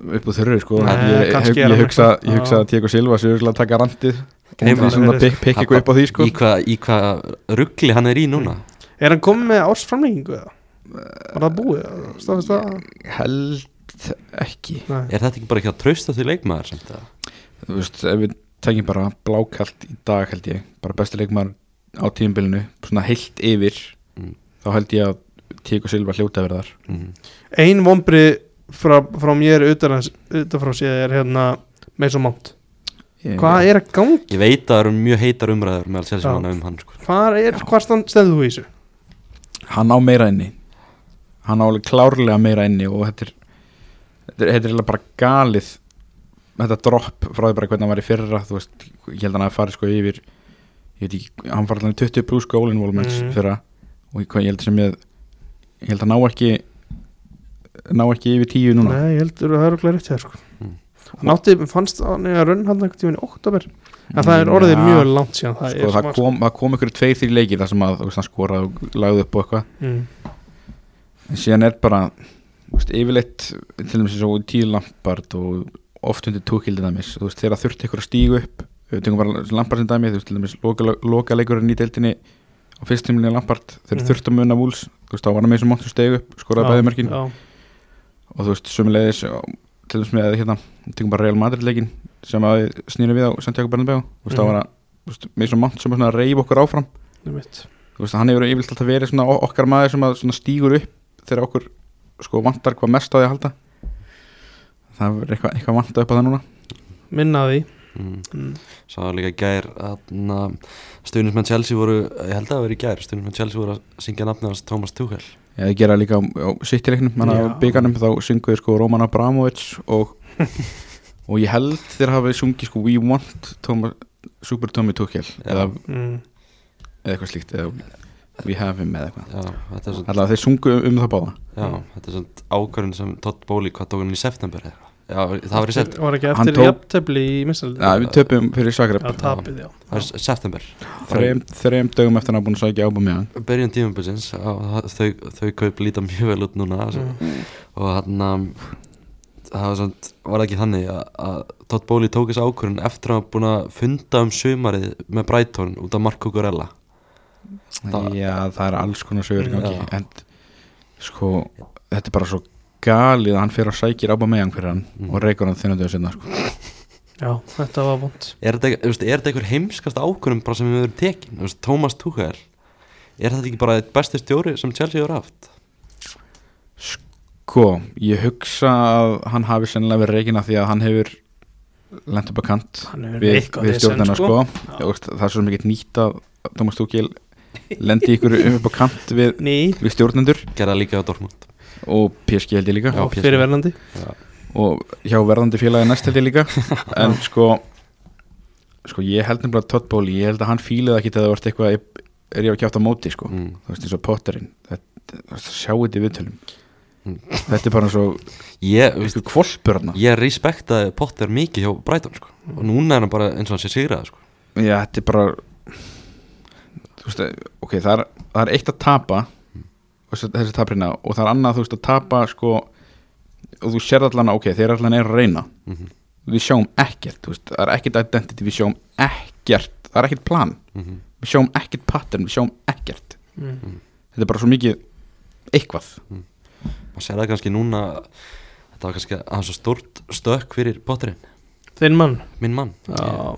Speaker 3: upp á þurru sko
Speaker 2: Nei,
Speaker 3: ég, ég,
Speaker 2: kannski er
Speaker 3: ég,
Speaker 2: hann
Speaker 3: hugsa,
Speaker 2: eitthvað.
Speaker 3: ég hugsa
Speaker 2: Já.
Speaker 3: að Tíko Silva séu örugglega að taka randið
Speaker 1: Gæti
Speaker 3: og svona
Speaker 2: verið.
Speaker 3: pikk pikk eitthvað upp á því sko
Speaker 1: Í hvað hva ruggli hann er í núna
Speaker 2: Er hann komið með ársframleggingu eða? Var það búið? Stafist það?
Speaker 3: held ekki
Speaker 2: Nei,
Speaker 1: Er þetta ekki bara ekki að trausta því leikmaður samt að
Speaker 3: þú veist, ef við tekjum bara blákalt í dag held ég, bara besti leikmaður á tíðumbilinu, svona heilt yfir
Speaker 1: Mm.
Speaker 3: þá held ég að Tíko Silva hljóta verið þar
Speaker 1: mm.
Speaker 2: Ein vombri frá, frá mér utan, að- utan frá séð er hérna Mason Mount Hvað er að gang?
Speaker 1: Ég veit að það eru mjög heitar umræður með Chelsea
Speaker 2: Já.
Speaker 1: manna um hann sko.
Speaker 2: Hvað er, hvað stand, stendur þú í þessu?
Speaker 3: hann á meira inni hann á alveg klárlega meira inni og þetta er þetta er, þetta er eiginlega bara galið þetta dropp frá því bara hvernig hann var í fyrra þú veist, ég held að hann að fara sko yfir ég veit ekki, hann var alveg 20 pluss goal involvements
Speaker 2: Mhm.
Speaker 3: fyrra og ég, hvað- ég held sem ég ég held að ná ekki ná ekki yfir tíu núna
Speaker 2: Nei, ég heldur að það er okkur rétt hér sko.
Speaker 1: Mm.
Speaker 2: Hann átti, fannst hann að raun hann einhvern tímann í oktober En það er orðið
Speaker 3: Ja,
Speaker 2: mjög langt síðan það
Speaker 3: Hmm,
Speaker 2: er
Speaker 3: sko, það,
Speaker 2: smá,
Speaker 3: kom, það kom ykkur tveir þrjir leikir þar sem að þú veist, hann skoraði og lagði upp og eitthvað
Speaker 2: mm.
Speaker 3: en síðan er bara þú veist, yfirleitt til dæmis eins og tíu lampart og oft undir tókildi dæmis þú veist þegar þurfti ykkur að stígu upp við tegum bara lampart sem dæmi þú veist til dæmis loka, loka leikurinn í deildinni á fyrstumlinni lampart þegar
Speaker 2: Mhm.
Speaker 3: mm. þurfti að muna vúls þú veist þá var hann með þessum montum stegu upp skoraði
Speaker 2: Já,
Speaker 3: bæði mörkin
Speaker 2: já.
Speaker 3: og þú veist sömulegis til þess með hérna, tegum bara Real Madrid leikin sem að við snýrum við á Santiago Bernabéu þú veist,
Speaker 2: Mhm.
Speaker 3: það var að, þú veist, með svona mann sem var svona að reyfa okkur áfram
Speaker 2: einmitt.
Speaker 3: þú veist, hann hefur yfirleitt alltaf verið svona o- okkar maður sem að svona stígur upp þegar okkur sko vantar hvað mest á því að halda það er eitthvað, eitthvað vanta upp á það núna
Speaker 2: Minna að því
Speaker 1: mm.
Speaker 2: mm.
Speaker 1: Sá líka í gær að stuðnismenn Chelsea voru, ég held að það veri í gær stuðnismenn Chelsea voru að syngja nafnið hans Thomas Tuchel
Speaker 3: Já, ég gera líka á, á sittileiknum hann
Speaker 2: Já.
Speaker 3: á byggarnum þá synguði sko Roman Abramovic og, og ég held þeir hafið sungið sko We Want Toma, Super Tommy Tuchel
Speaker 1: Já.
Speaker 3: eða,
Speaker 2: Mm.
Speaker 3: eða eitthvað slíkt eða We Have Him eða eitthvað
Speaker 1: Já, þetta er svona,
Speaker 3: Alltaf þeir sungu um, um það báða
Speaker 1: já, þetta er svona ákvörðin sem Todd Bóli, hvað tók hann í september eða eitthvað? Já, það var í september,
Speaker 2: Var ekki
Speaker 3: Hann
Speaker 2: eftir
Speaker 3: tók-
Speaker 2: jafntefli í
Speaker 3: Já,
Speaker 2: minnstæli
Speaker 3: við töpum fyrir
Speaker 2: Já,
Speaker 3: Sakrep
Speaker 2: tapið, já
Speaker 1: það var í september
Speaker 3: þreim, þreim dögum eftir hann að búin að sækja ábúið með hann
Speaker 1: byrjun tímabilsins á- þau, þau kaup líta mjög vel út núna mm.
Speaker 2: Mm.
Speaker 1: og hann það var, samt, var ekki þannig að, að Todd Bóli tók þessi ákvörðin eftir að hann var búin að funda um sumarið með Brighton út af Marco Gorella Það-
Speaker 3: Já, það er alls konar sögur í gangi
Speaker 1: Já.
Speaker 3: En sko, þetta er bara svo galið að hann fyrir að sækja ábúið með hann fyrir hann
Speaker 1: Mm.
Speaker 3: og reikur hann þinnu dögum sinna sko.
Speaker 2: Já, þetta var vond
Speaker 1: er þetta, ekki- þú veist, er þetta einhver heimskast ákvörðum bara sem við höfum tekin, Þú veist, Thomas Tuchel er þetta ekki bara einn besti stjóri sem Chelsea hefur haft
Speaker 3: sko, ég hugsa að hann hafi sennilega verið reikina því að hann hefur lent upp að kant
Speaker 2: Hann hefur
Speaker 3: við,
Speaker 2: eitthvað
Speaker 3: við
Speaker 2: vesen,
Speaker 3: stjórnina sko,
Speaker 2: Já.
Speaker 3: sko. Veist, það er svo mikið nýtt að Thomas Tuchel lendi ykkur upp að kant við,
Speaker 2: Ný
Speaker 3: við stjórnendur
Speaker 1: gerða líka á Dortmund
Speaker 3: og PSG held ég líka
Speaker 1: Já,
Speaker 2: og fyrirverðandi
Speaker 3: og hjá verðandi félagi næst held ég líka en sko sko ég held nefnilega að Todd Bóli ég held að hann fílaði ekki þegar það vart eitthvað er ég að kjáta á móti sko
Speaker 1: mm.
Speaker 3: þú veist eins og Potterinn þetta, þú veist, sjá þetta í viðtölum
Speaker 1: Mm.
Speaker 3: þetta er bara svo
Speaker 1: ég, þú veist,
Speaker 3: eitthvað kvolpur hann
Speaker 1: ég respektaði Potter mikið hjá Brighton sko. og núna er hann bara eins og hann sé sigrað sko.
Speaker 3: já þetta er bara þú veist ok það er, það er eitt að tapa
Speaker 1: Mm.
Speaker 3: þessi, þessi taprina og það er annað þú veist að tapa sko og þú sér allan ok þeir allan er að reyna
Speaker 1: mm
Speaker 3: við sjáum ekkert þú veist, það er ekkert identity, við sjáum ekkert það er ekkert plan,
Speaker 1: -hmm.
Speaker 3: við sjáum ekkert pattern, við sjáum ekkert
Speaker 2: Mm.
Speaker 3: þetta er bara svo mikið eitthvað
Speaker 1: maður sér það kannski núna þetta var kannski aðeins svo stórt stökk fyrir Potterinn,
Speaker 2: Þinn mann
Speaker 1: minn mann
Speaker 2: Já,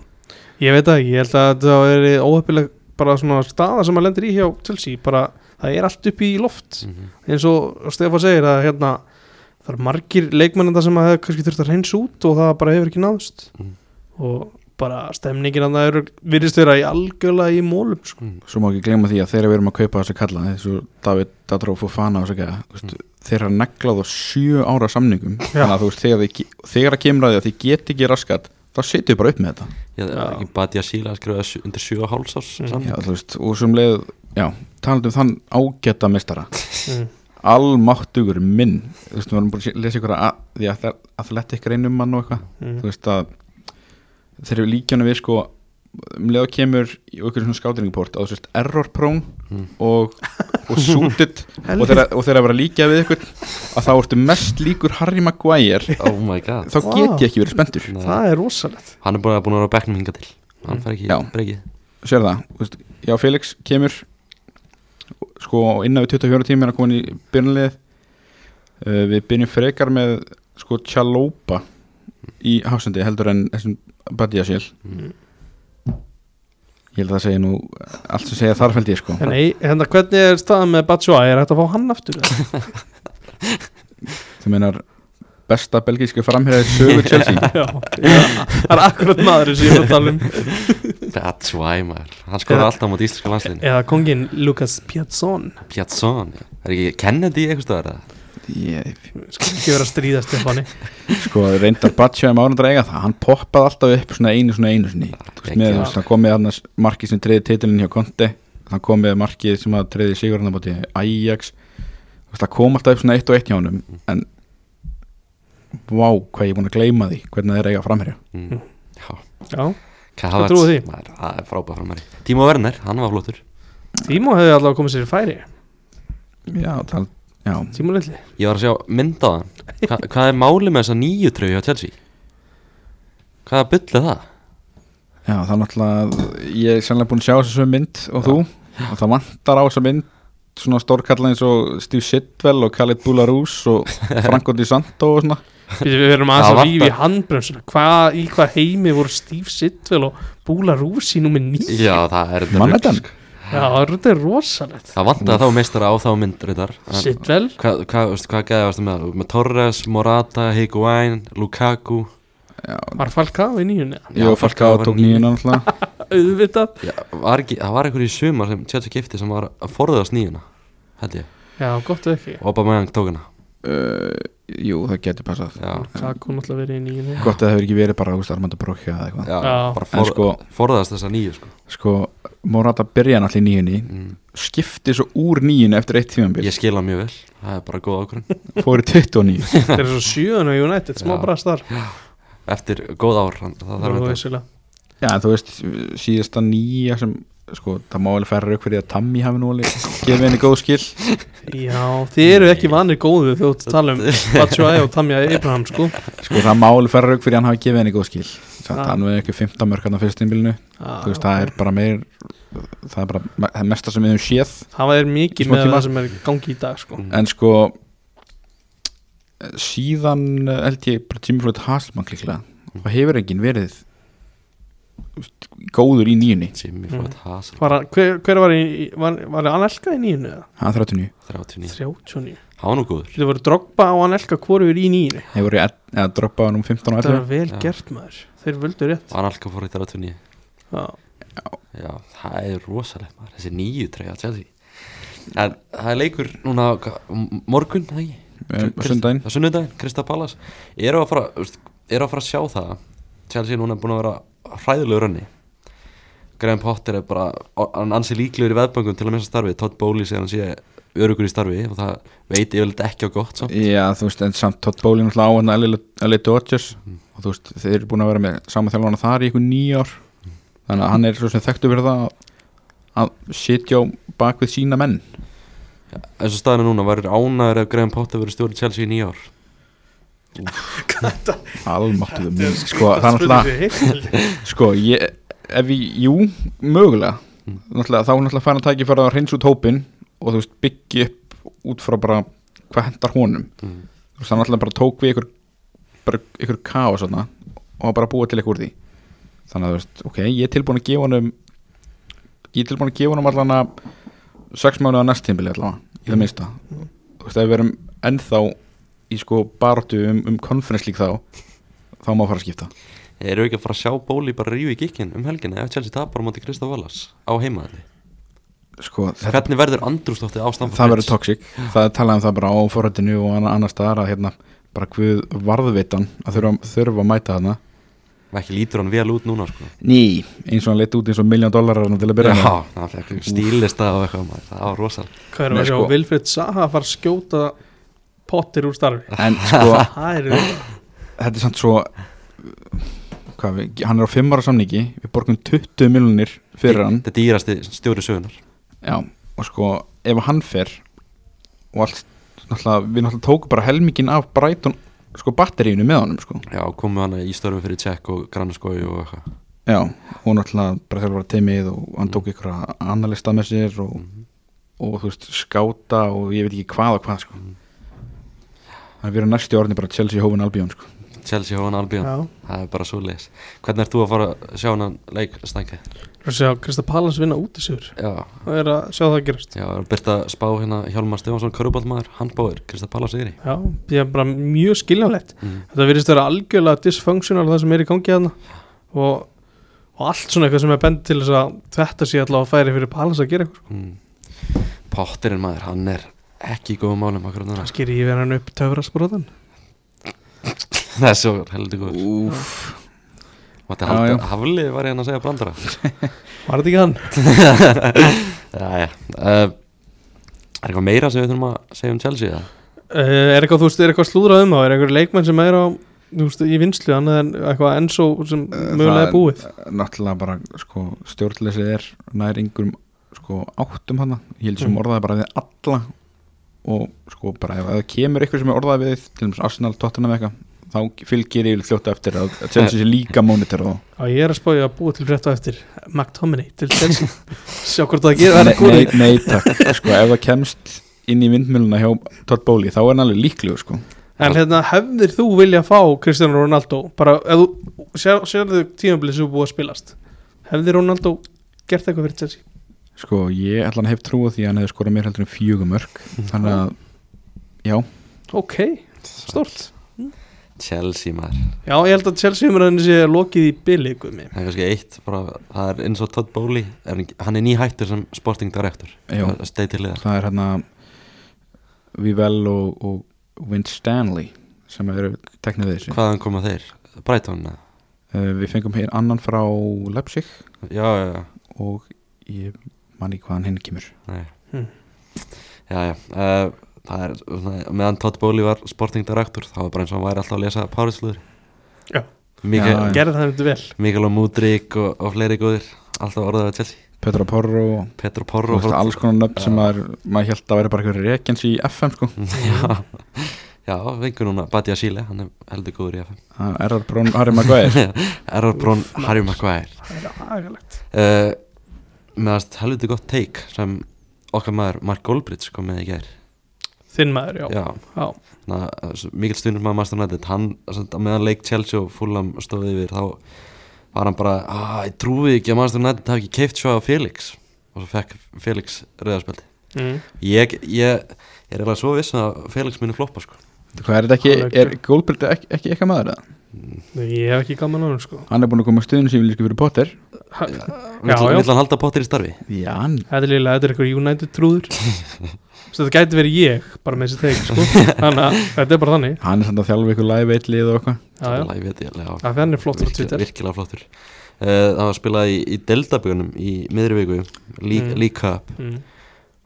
Speaker 2: ég veit það ekki, ég held að það er óheppileg bara svona staða sem að lendir í hjá Chelsea, bara það er allt upp í loft
Speaker 1: mm -hmm.
Speaker 2: eins og Stefán segir að hérna það er margir leikmennanda sem að hefur kannski þurft að reyns út og það bara hefur ekki náðst
Speaker 1: Mhm.
Speaker 2: og bara stemningin að það eru virðist vera í algjörlega í mólum sko.
Speaker 3: svo má ekki gleyma því að þegar við erum að kaupa þessi kalla eins og David Datró Fofana og þess að þú veist, þeir eru neglað á sjö ára samningum þannig að þú veist, þegar, þið, ge- þegar að kemur að því að þið get ekki raskat þá setjum við bara upp með þetta
Speaker 1: ég er
Speaker 2: Já.
Speaker 1: ekki Badia Síla að skrifa sjö- undir 7 og hálsás
Speaker 2: Mm.
Speaker 1: mm.
Speaker 3: já, þú veist, og sem leið, já, talandi um þann ágæta mistara
Speaker 2: mm.
Speaker 3: almáttugur minn þú veist, við varum búin að lesa ykkur að því að það athletic reynum mann og eitthvað
Speaker 2: Mm.
Speaker 3: þú veist að þeir eru líkjana við sko um leið og kemur í okkur svona skátiringport að þú veist error prone
Speaker 1: Mm.
Speaker 3: og, og suited og þeir og þeir að vera líkja við ykkur að þá ertu mest líkur Harry Maguire
Speaker 1: oh my god
Speaker 3: þá get
Speaker 2: Vá.
Speaker 3: ég ekki verið spendur
Speaker 1: Nei.
Speaker 2: það er rosalegt
Speaker 1: hann er bara búin að vera á bekknum hinga til hann fer ekki
Speaker 3: Já.
Speaker 1: breykið
Speaker 3: sér það, þú veist, já Felix kemur sko innan við 24 tíma er að koma í byrnlið uh, við byrjum frekar með sko Chalópa í hafsendi heldur en þessum Badiasíl
Speaker 1: Mm.
Speaker 3: ég held að það segja nú allt sem segja þarf held ég sko
Speaker 2: en ei, hérna, hvernig er staðan með Batshuayi, er hægt að fá hann aftur eða?
Speaker 3: þú meinar besta belgísku framherjaði sögu Chelsea
Speaker 2: Já, það er akkurat maður sem ég er að tala um
Speaker 1: that's why maður hann skoður
Speaker 2: Eða-
Speaker 1: alltaf á íslenska landsliðinu
Speaker 2: eða kongin Lucas Piazzon
Speaker 1: Piazzon já. er ekki Kennedy eitthvað stöðar eða?
Speaker 3: ég,
Speaker 2: skal ekki vera að stríða Stefáni
Speaker 3: sko reyndar Badiasíl um árundra eiga það, hann poppaði alltaf upp svona einu svona einu sinni Þú veist, með,
Speaker 1: Geggjað.
Speaker 3: þú veist, hann kom með annars markið sem treyði titilin hjá Conte hann kom með markið sem að treyði Sigurðan á bóti Ajax Þú veist, það kom alltaf upp svona eitt og eitt hjá honum en vá hvað ég er búin að gleyma því hvernig þeir eiga framherja
Speaker 1: mm. Já,
Speaker 2: Já,
Speaker 1: Kavats,
Speaker 2: trúi því.
Speaker 1: maður, það er frábæð framari Tímo Werner, hann var flottur
Speaker 2: Tímo hefði allavega komið sér í færi
Speaker 3: já, tal, já.
Speaker 2: Tímo litli
Speaker 1: Ég var að sjá mynd á hann Hva, Hvað er máli með þessa nýju tröju hjá Chelsea? Hvað er byllið það?
Speaker 3: já, það er náttúrulega ég er sannlega búin að sjá þessu mynd og þú og það vantar á þessu mynd svona stórkalla eins og Steve Sidwell og Khaled Boularus og Franco Di Santo og svona
Speaker 2: Við við erum aðeins
Speaker 1: Það
Speaker 2: að rífi í
Speaker 1: vantar-
Speaker 2: handbremsuna Hva, Í hvað heimi voru Steve Sidwell og Búla Rúsi númer 9
Speaker 1: Já, það er þetta
Speaker 3: Mannættan.
Speaker 1: rugl, sko.
Speaker 2: Já, þetta er rosalegt
Speaker 1: Það vantaði þá meistara á þá mynd reyndar. En
Speaker 2: Sidwell
Speaker 1: Hvað, hvað, veistu, hvað gæði varstu með það? Með Torres, Morata, Higuain, Lukaku
Speaker 2: Var Falcao í nýjunni
Speaker 3: ég og Falcao tók
Speaker 1: níu.
Speaker 3: nýjuna náttúrulega
Speaker 2: Auðvitað
Speaker 1: Já, var ekki, það var einhver í sumar sem Chelsea gifti sem var að forðast nýjuna held ég,
Speaker 2: Já, gott ef ekki
Speaker 1: og Aubameyang tók hana
Speaker 3: uh, jú, það getur passað
Speaker 1: já,
Speaker 2: Lukaku náttúrulega verið í nýjunni
Speaker 3: gott að það hefur ekki verið bara úst, Armando Brokja eða eitthvað
Speaker 1: já,
Speaker 2: Já.
Speaker 1: bara
Speaker 3: en
Speaker 1: for,
Speaker 3: sko,
Speaker 1: forðast þessa nýju sko.
Speaker 3: sko Morata byrja náttúrulega í nýjunni
Speaker 1: mm.
Speaker 3: skipti svo úr nýjunni eftir eitt tímanbíl
Speaker 1: ég skil hann mjög vel, það er bara góð ákvörðin
Speaker 3: fóri 29
Speaker 2: Þetta er svo sjöðan á United, smá
Speaker 1: Já.
Speaker 2: brast þar
Speaker 1: eftir góð ár hann, það
Speaker 2: Það
Speaker 1: þarf
Speaker 2: er
Speaker 1: þetta
Speaker 2: vissulega
Speaker 3: Já, en þú veist, síðasta nýja sem, sko, það má alveg færa rauk fyrir að Tammy hafi nú alveg gefið henni góð skil
Speaker 2: Já, þið eru ekki vanir góðu þegar þú ert að tala um Batshuayi og Tamja Abraham sko
Speaker 3: sko, það má alveg færa rauk fyrir að hann hafi gefið henni góð skil þannig
Speaker 2: Ah.
Speaker 3: að hann veið ekki 15 mörg hann á fyrstinbílinu þú veist, það er bara meir það er bara me- það mesta sem við höfum séð
Speaker 2: Það er mikið
Speaker 3: Smá
Speaker 2: með
Speaker 3: tíma.
Speaker 2: það sem er í gangi í dag sko
Speaker 3: en sko síðan eh, held ég bara tímiflöð Hasselmann líklega og hefur enginn verið þú veist, góður í nýjunni
Speaker 1: Jimmy Flott Haas,
Speaker 2: Var, hann- hver, hver var, í, var, var Anelka í nýjunni? eða?
Speaker 3: hann er 39,
Speaker 1: 39
Speaker 2: 39
Speaker 1: hann var nú góður
Speaker 2: Þetta voru Drogba og Anelka hvoru er í nýjunni
Speaker 3: hefur verið að droppa hann um 15 og
Speaker 2: Þetta
Speaker 3: 11
Speaker 2: var vel
Speaker 1: Já.
Speaker 2: gert maður Þeir völdu rétt
Speaker 1: hann alka fór í 39
Speaker 2: Já.
Speaker 1: já, það er rosalegt maður, þessi nýju treyja Chelsea en það er leikur núna hva- m- morgun, er það ekki?
Speaker 3: Eh, á sundaginn
Speaker 1: á sunnudaginn, Krista Pallas eru að fara, veist, eru að fara að sjá það Chelsea núna er búin að vera hræðilegur önni Graham Potter er bara hann ansi líklegur í veðböngum til að missa starfi Todd Bowley segir hann sé örugur í starfi og það veit yfirleitt ekki á gott samt
Speaker 3: Já, þú veist, en samt Todd Bowley náttúrulega á hann að leita Dodgers og þú veist, þeir eru búin að vera með sama þjálfana þar í ykkur nýjar þannig að hann er svo sem þekktu fyrir það að- að sitja á bak við sína menn
Speaker 1: eins og staðinu núna væri ánæður ef Graham Potter verið stjórn Chelsea í nýjár
Speaker 3: almáttuðu minn sko, það er náttúrulega, sko ég, ef ég, jú, mögulega náttúrulega, þá er náttúrulega fæna tæki fyrir að reynsa út hópin og þú veist, byggja upp út frá bara hvað hendar honum
Speaker 1: mm.
Speaker 3: þú veist, hann alltaf bara tók við ykkur bara ykkur kaos svona, og bara búa til ykkur úr því þannig að þú veist, ok, ég er tilbúin að gefa honum ég er tilbúin að gefa honum allan að sex mánuða næst tímbili allavega, í það minnsta þú veist, ef við erum ennþá í sko baróttu um, um conference lík þá þá má fara að skipta
Speaker 1: eru ekki að fara að sjá Bowley bara ríu í gikkin um helginni ef Chelsea tapar á móti Krista Pallas á heimaðinni
Speaker 3: sko, þetta,
Speaker 1: hvernig verður andrústóttið á Stamford
Speaker 3: það
Speaker 1: Bridge?
Speaker 3: verður toxic það er talað um það bara á forhættinu og anna- annars staðar að hérna, bara hvað varðvitan að þurfa, þurfa að mæta þarna
Speaker 1: ekki lítur hann vel út núna sko.
Speaker 3: Ný, eins og hann leitt út eins og miljón dólarar til að byrja með.
Speaker 1: já, það fekk stílista og eitthvað maður. það var rosal
Speaker 2: Hvað er
Speaker 3: Nei,
Speaker 2: að sjá?
Speaker 3: sko.
Speaker 2: Vilfred Saha að fara að skjóta Potter úr starfi
Speaker 3: en sko,
Speaker 2: Það er við
Speaker 3: þetta er samt svo hvað, við, hann er á 5 ára samningi við borgum 20 miljonir fyrir hann
Speaker 1: Þetta er dýrasti stjóri sögunar
Speaker 3: já, og sko, ef hann fer og allt náttúrulega, við náttúrulega tókum bara helmingin af Brighton, sko, batteríinu með honum sko.
Speaker 1: Já, komu hann í störfum fyrir Tjekk og Grannaskói og eitthvað
Speaker 3: já, hún náttúrulega bara þegar var teimið og hann tók ykkur að analista með sér og, og þú veist, skáta og ég veit ekki hvað og hvað sko. hann verið næstu orðin bara Chelsea hófin Albion sko.
Speaker 1: Chelsea og hann Albion, það er bara svo leis Hvernig ert þú að fara að sjá hann leik stænkið?
Speaker 2: Þú sjá Krista Pallas vinna út í sigur
Speaker 1: Já,
Speaker 2: Það er að sjá það gerast
Speaker 1: já, er byrta spá hérna Hjálmar Stefansson, Körubaldmaður, hann báir Krista Pallas yfir í
Speaker 2: Já, því er bara mjög skiljanlegt
Speaker 1: Mm.
Speaker 2: Þetta virðist að vera algjörlega dysfunctional það sem er í gangi þarna og, og allt svona eitthvað sem er bend til þess að þetta sé allavega að færi fyrir Pallas að gera eitthvað
Speaker 1: mm. Potterinn maður, hann er ekki í góðum málum akkur núna
Speaker 2: Kannski er ég verið hann upp töfrasbrotan
Speaker 1: Það er svo heldur góður
Speaker 3: Úf,
Speaker 1: Mátti
Speaker 3: Já,
Speaker 1: halda,
Speaker 3: já.
Speaker 1: haflið var ég hann að segja brandara
Speaker 2: Var þetta ekki hann?
Speaker 1: Já, já uh, Er eitthvað meira sem við þurfum að segja um Chelsea það?
Speaker 2: Uh, er eitthvað, þú veist, er eitthvað slúðrað um þá er eitthvað leikmenn sem er á, þú veist, í vinslu annað en eitthvað enn svo sem
Speaker 3: Eh,
Speaker 2: mögulega
Speaker 3: það-
Speaker 2: er búið
Speaker 3: náttúrulega bara sko, stjórnleysið er nær yngurum sko, áttum hana ég held sem
Speaker 2: Mm.
Speaker 3: orðaði bara við alla og sko bara ef það kemur ykkur sem er orðaði við til dæmis Arsenal, Tottenham eitthvað þá fylgir ég fljóta eftir að að Chelsea sé líka mónitor þá
Speaker 2: og ég er að spája að búa til frétta á eftir McTominay til Chelsea sjá hvort það gerir það
Speaker 3: nei,
Speaker 2: er
Speaker 3: nei,
Speaker 2: góðið
Speaker 3: nei takk, sko ef það kemst inn í vindmjöluna hjá Todd Bowley þá er hann alveg líklegur sko
Speaker 2: en hérna, hefðir þú vilja fá Cristiano Ronaldo bara, ef þú sér, sérðu tímabilið sem er búið að spilast hefðir Ronaldo gert eitthvað fyrir Chelsea
Speaker 3: sko ég ætla að hef trúið því að hann hefði skorað mér heldur en fjögumörk þannig að já,
Speaker 2: ok, stórt
Speaker 1: Chelsea maður
Speaker 2: já, ég held að Chelsea umræðinni sé lokið í bili guðmi.
Speaker 1: Það er kannski eitt, bara, það er eins og Todd Bowley er, hann er nýhættur sem sporting director
Speaker 3: Já.
Speaker 1: að steið til liðar
Speaker 3: það er hérna Vivel og, og Vince Stanley sem eru teknir við þessu
Speaker 1: Hvaðan koma þeir? Brighton? eða?
Speaker 3: uh, við fengum hér annan frá Leipzig
Speaker 1: Já, já, já
Speaker 3: og ég man ekki hvaðan hinn kemur
Speaker 1: Nei.
Speaker 2: Hmm.
Speaker 1: Já, já uh, Það er, svona- meðan Todd Bowley var sporting director þá var bara eins og hann væri alltaf að lesa Párisluður
Speaker 2: Já.
Speaker 1: Mikael,
Speaker 2: gerði það myndi vel
Speaker 1: Mikael og Múdrik og, og fleiri góðir alltaf orðaðið að Chelsea
Speaker 3: Petra Porro og
Speaker 1: Petro
Speaker 3: þú
Speaker 1: Porro
Speaker 3: veist, alls konar nöfn sem maður, maður held að vera bara eitthvað rekjens í FM sko
Speaker 1: Mm. Já, já vingur núna Batja Síle, hann er heldur góður í FM
Speaker 3: Það er Error Brón Harry Maguire
Speaker 1: Errarbrón Harry Maguire
Speaker 2: það er agalegt
Speaker 1: uh, meðast helviti gott take sem okkar maður Mark Goldbridge kom með í gær
Speaker 2: þinn maður, já,
Speaker 1: já,
Speaker 2: já.
Speaker 1: na, mikil stundur maður Master United hann, sem, að meðan leik Chelsea og Fulham stóði yfir þá var hann bara, að ég trúi ekki að Master United hafi ekki keift svo á Felix og svo fekk Felix rauðarspjaldi
Speaker 2: Mm.
Speaker 1: ég, ég, ég er eiginlega svo viss að Felix muni floppa sko
Speaker 3: Hvað er
Speaker 2: Hann
Speaker 3: þetta ekki,
Speaker 2: er
Speaker 3: er Goldberg ekki, ekki eitthvað maður það?
Speaker 2: Nei, ég hef ekki gaman á hún sko
Speaker 3: Hann er búin að koma stöðun sem við líka fyrir Potter
Speaker 1: vill
Speaker 2: já.
Speaker 1: vill hann halda pottir í starfi
Speaker 3: Já, hann
Speaker 2: Þetta er líka, þetta er eitthvað United trúður Svo þetta gæti verið ég, bara með þessi teik sko. Þannig að þetta er bara þannig
Speaker 3: hann er samt að þjálfa ykkur live eitt lið og eitthvað
Speaker 2: já, já.
Speaker 1: Læg, veit, ég, já.
Speaker 2: Það er hann er flottur á
Speaker 1: Virkilega-
Speaker 2: Twitter
Speaker 1: virkilega flottur uh, það var spilað í, í Delta-björnum í miðri viku,
Speaker 2: Mm.
Speaker 1: League League Cup
Speaker 2: mm.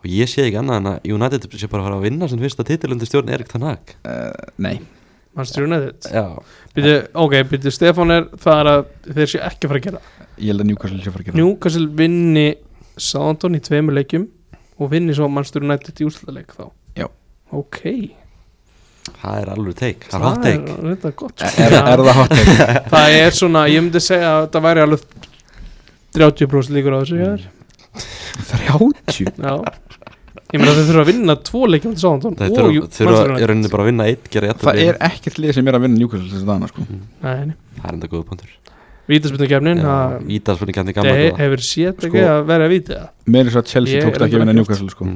Speaker 1: og ég sé ekki annað en að United sé bara að fara að vinna sem fyrsta titil undir stjórn Erik Tannak
Speaker 3: Eh, Nei,
Speaker 2: Manchester United
Speaker 1: já,
Speaker 2: byrju, Ok, byrju Stefán er það er að þeir séu ekki að fara að gera
Speaker 3: ég held að Newcastle sé að fara að gera það.
Speaker 2: Newcastle vinni Southampton í tveimur leikjum og vinni svo Manchester United í úrslutaleik þá
Speaker 3: Já.
Speaker 2: Ok
Speaker 1: það er alveg teik það er hot teik
Speaker 2: er þetta gott sko.
Speaker 3: Er, er það hot take?
Speaker 2: Það er svona, ég myndi segja að þetta væri alveg 30% líkur á þessu hjá
Speaker 1: Mm.
Speaker 2: þér
Speaker 3: 30?
Speaker 2: Já Ég meina þau þurfa að vinna tvo leikjum til Sándón
Speaker 1: það þurfa í rauninni bara að vinna eitt gera jafntefli.
Speaker 3: Það er ekkert lið sem er að vinna Newcastle þessi dana sko.
Speaker 2: Nei,
Speaker 1: það er enda góða punktur
Speaker 2: vítaspilnakefnin
Speaker 1: Ítalspunni gæmdi gamla
Speaker 2: Það he-
Speaker 1: góða
Speaker 2: hefur sétt ekki
Speaker 3: Sko.
Speaker 2: að vera að víta
Speaker 3: Meir eins og að Chelsea
Speaker 2: Ég
Speaker 3: tókst
Speaker 2: er
Speaker 3: ekki að
Speaker 2: reyndar
Speaker 3: vinna
Speaker 2: ekki
Speaker 3: Newcastle sko.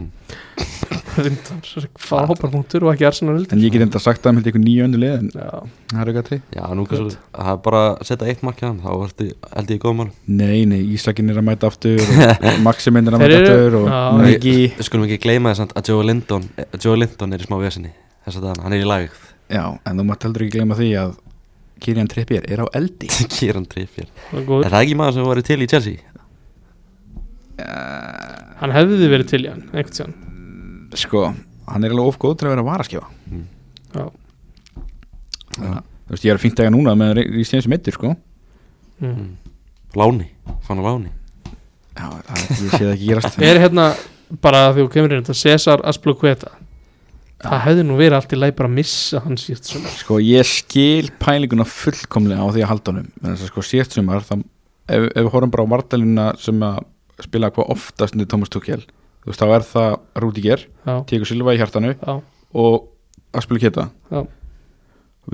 Speaker 1: Mm.
Speaker 2: Fara hopparpunktur og ekki Arsenal heldur
Speaker 3: En ég get enda sagt að það með eitthvað nýju öndu lið En
Speaker 2: Já,
Speaker 3: það er eitthvað trí
Speaker 1: já, nú kannski það er bara að setja eitt markið hann þá ertu, held ég í góðum málum
Speaker 3: Nei, nei, Ísakin er að mæta aftur og Maximin er að mæta
Speaker 2: Þeir
Speaker 3: aftur
Speaker 2: eru-
Speaker 3: og
Speaker 2: Já.
Speaker 3: Miki
Speaker 1: við skulum ekki gleyma þess að Joe Linton Joe Linton er í smá vesinni þess að hann er í lagið
Speaker 3: Já, en þú mátt heldur ekki gleyma því að Kirian Trippier er á eldi
Speaker 1: Kieran Trippier
Speaker 2: það er
Speaker 1: Er
Speaker 2: góður
Speaker 1: það ekki maður sem var til í Chelsea?
Speaker 2: Hann hefði verið til í hann, einhvern tíðan
Speaker 3: Sko, hann er alveg of góð til að vera varaskjöfa
Speaker 2: Já
Speaker 3: Þú veist, ég er að fínt ega núna með Rísien sem eittir sko
Speaker 2: Mm.
Speaker 1: Láni, fann á Láni
Speaker 3: Já, það, ég sé það ekki gerast
Speaker 2: Er hérna bara því þú kemur inn þetta Cesar Aspluqueta Það hefði nú verið allt í læg bara að missa hann síðast svona
Speaker 3: Sko ég skil pælinguna fullkomlega á því að halda honum en þess að sko síðast sumar þá, ef, ef við horfum bara á Vardalina sem að spila hvað oftast niður Thomas Tuchel þú veist þá er það Rúdiger
Speaker 2: Já,
Speaker 3: Tíku Silva í hjartanu
Speaker 2: já,
Speaker 3: og Aspil Keta
Speaker 2: Já.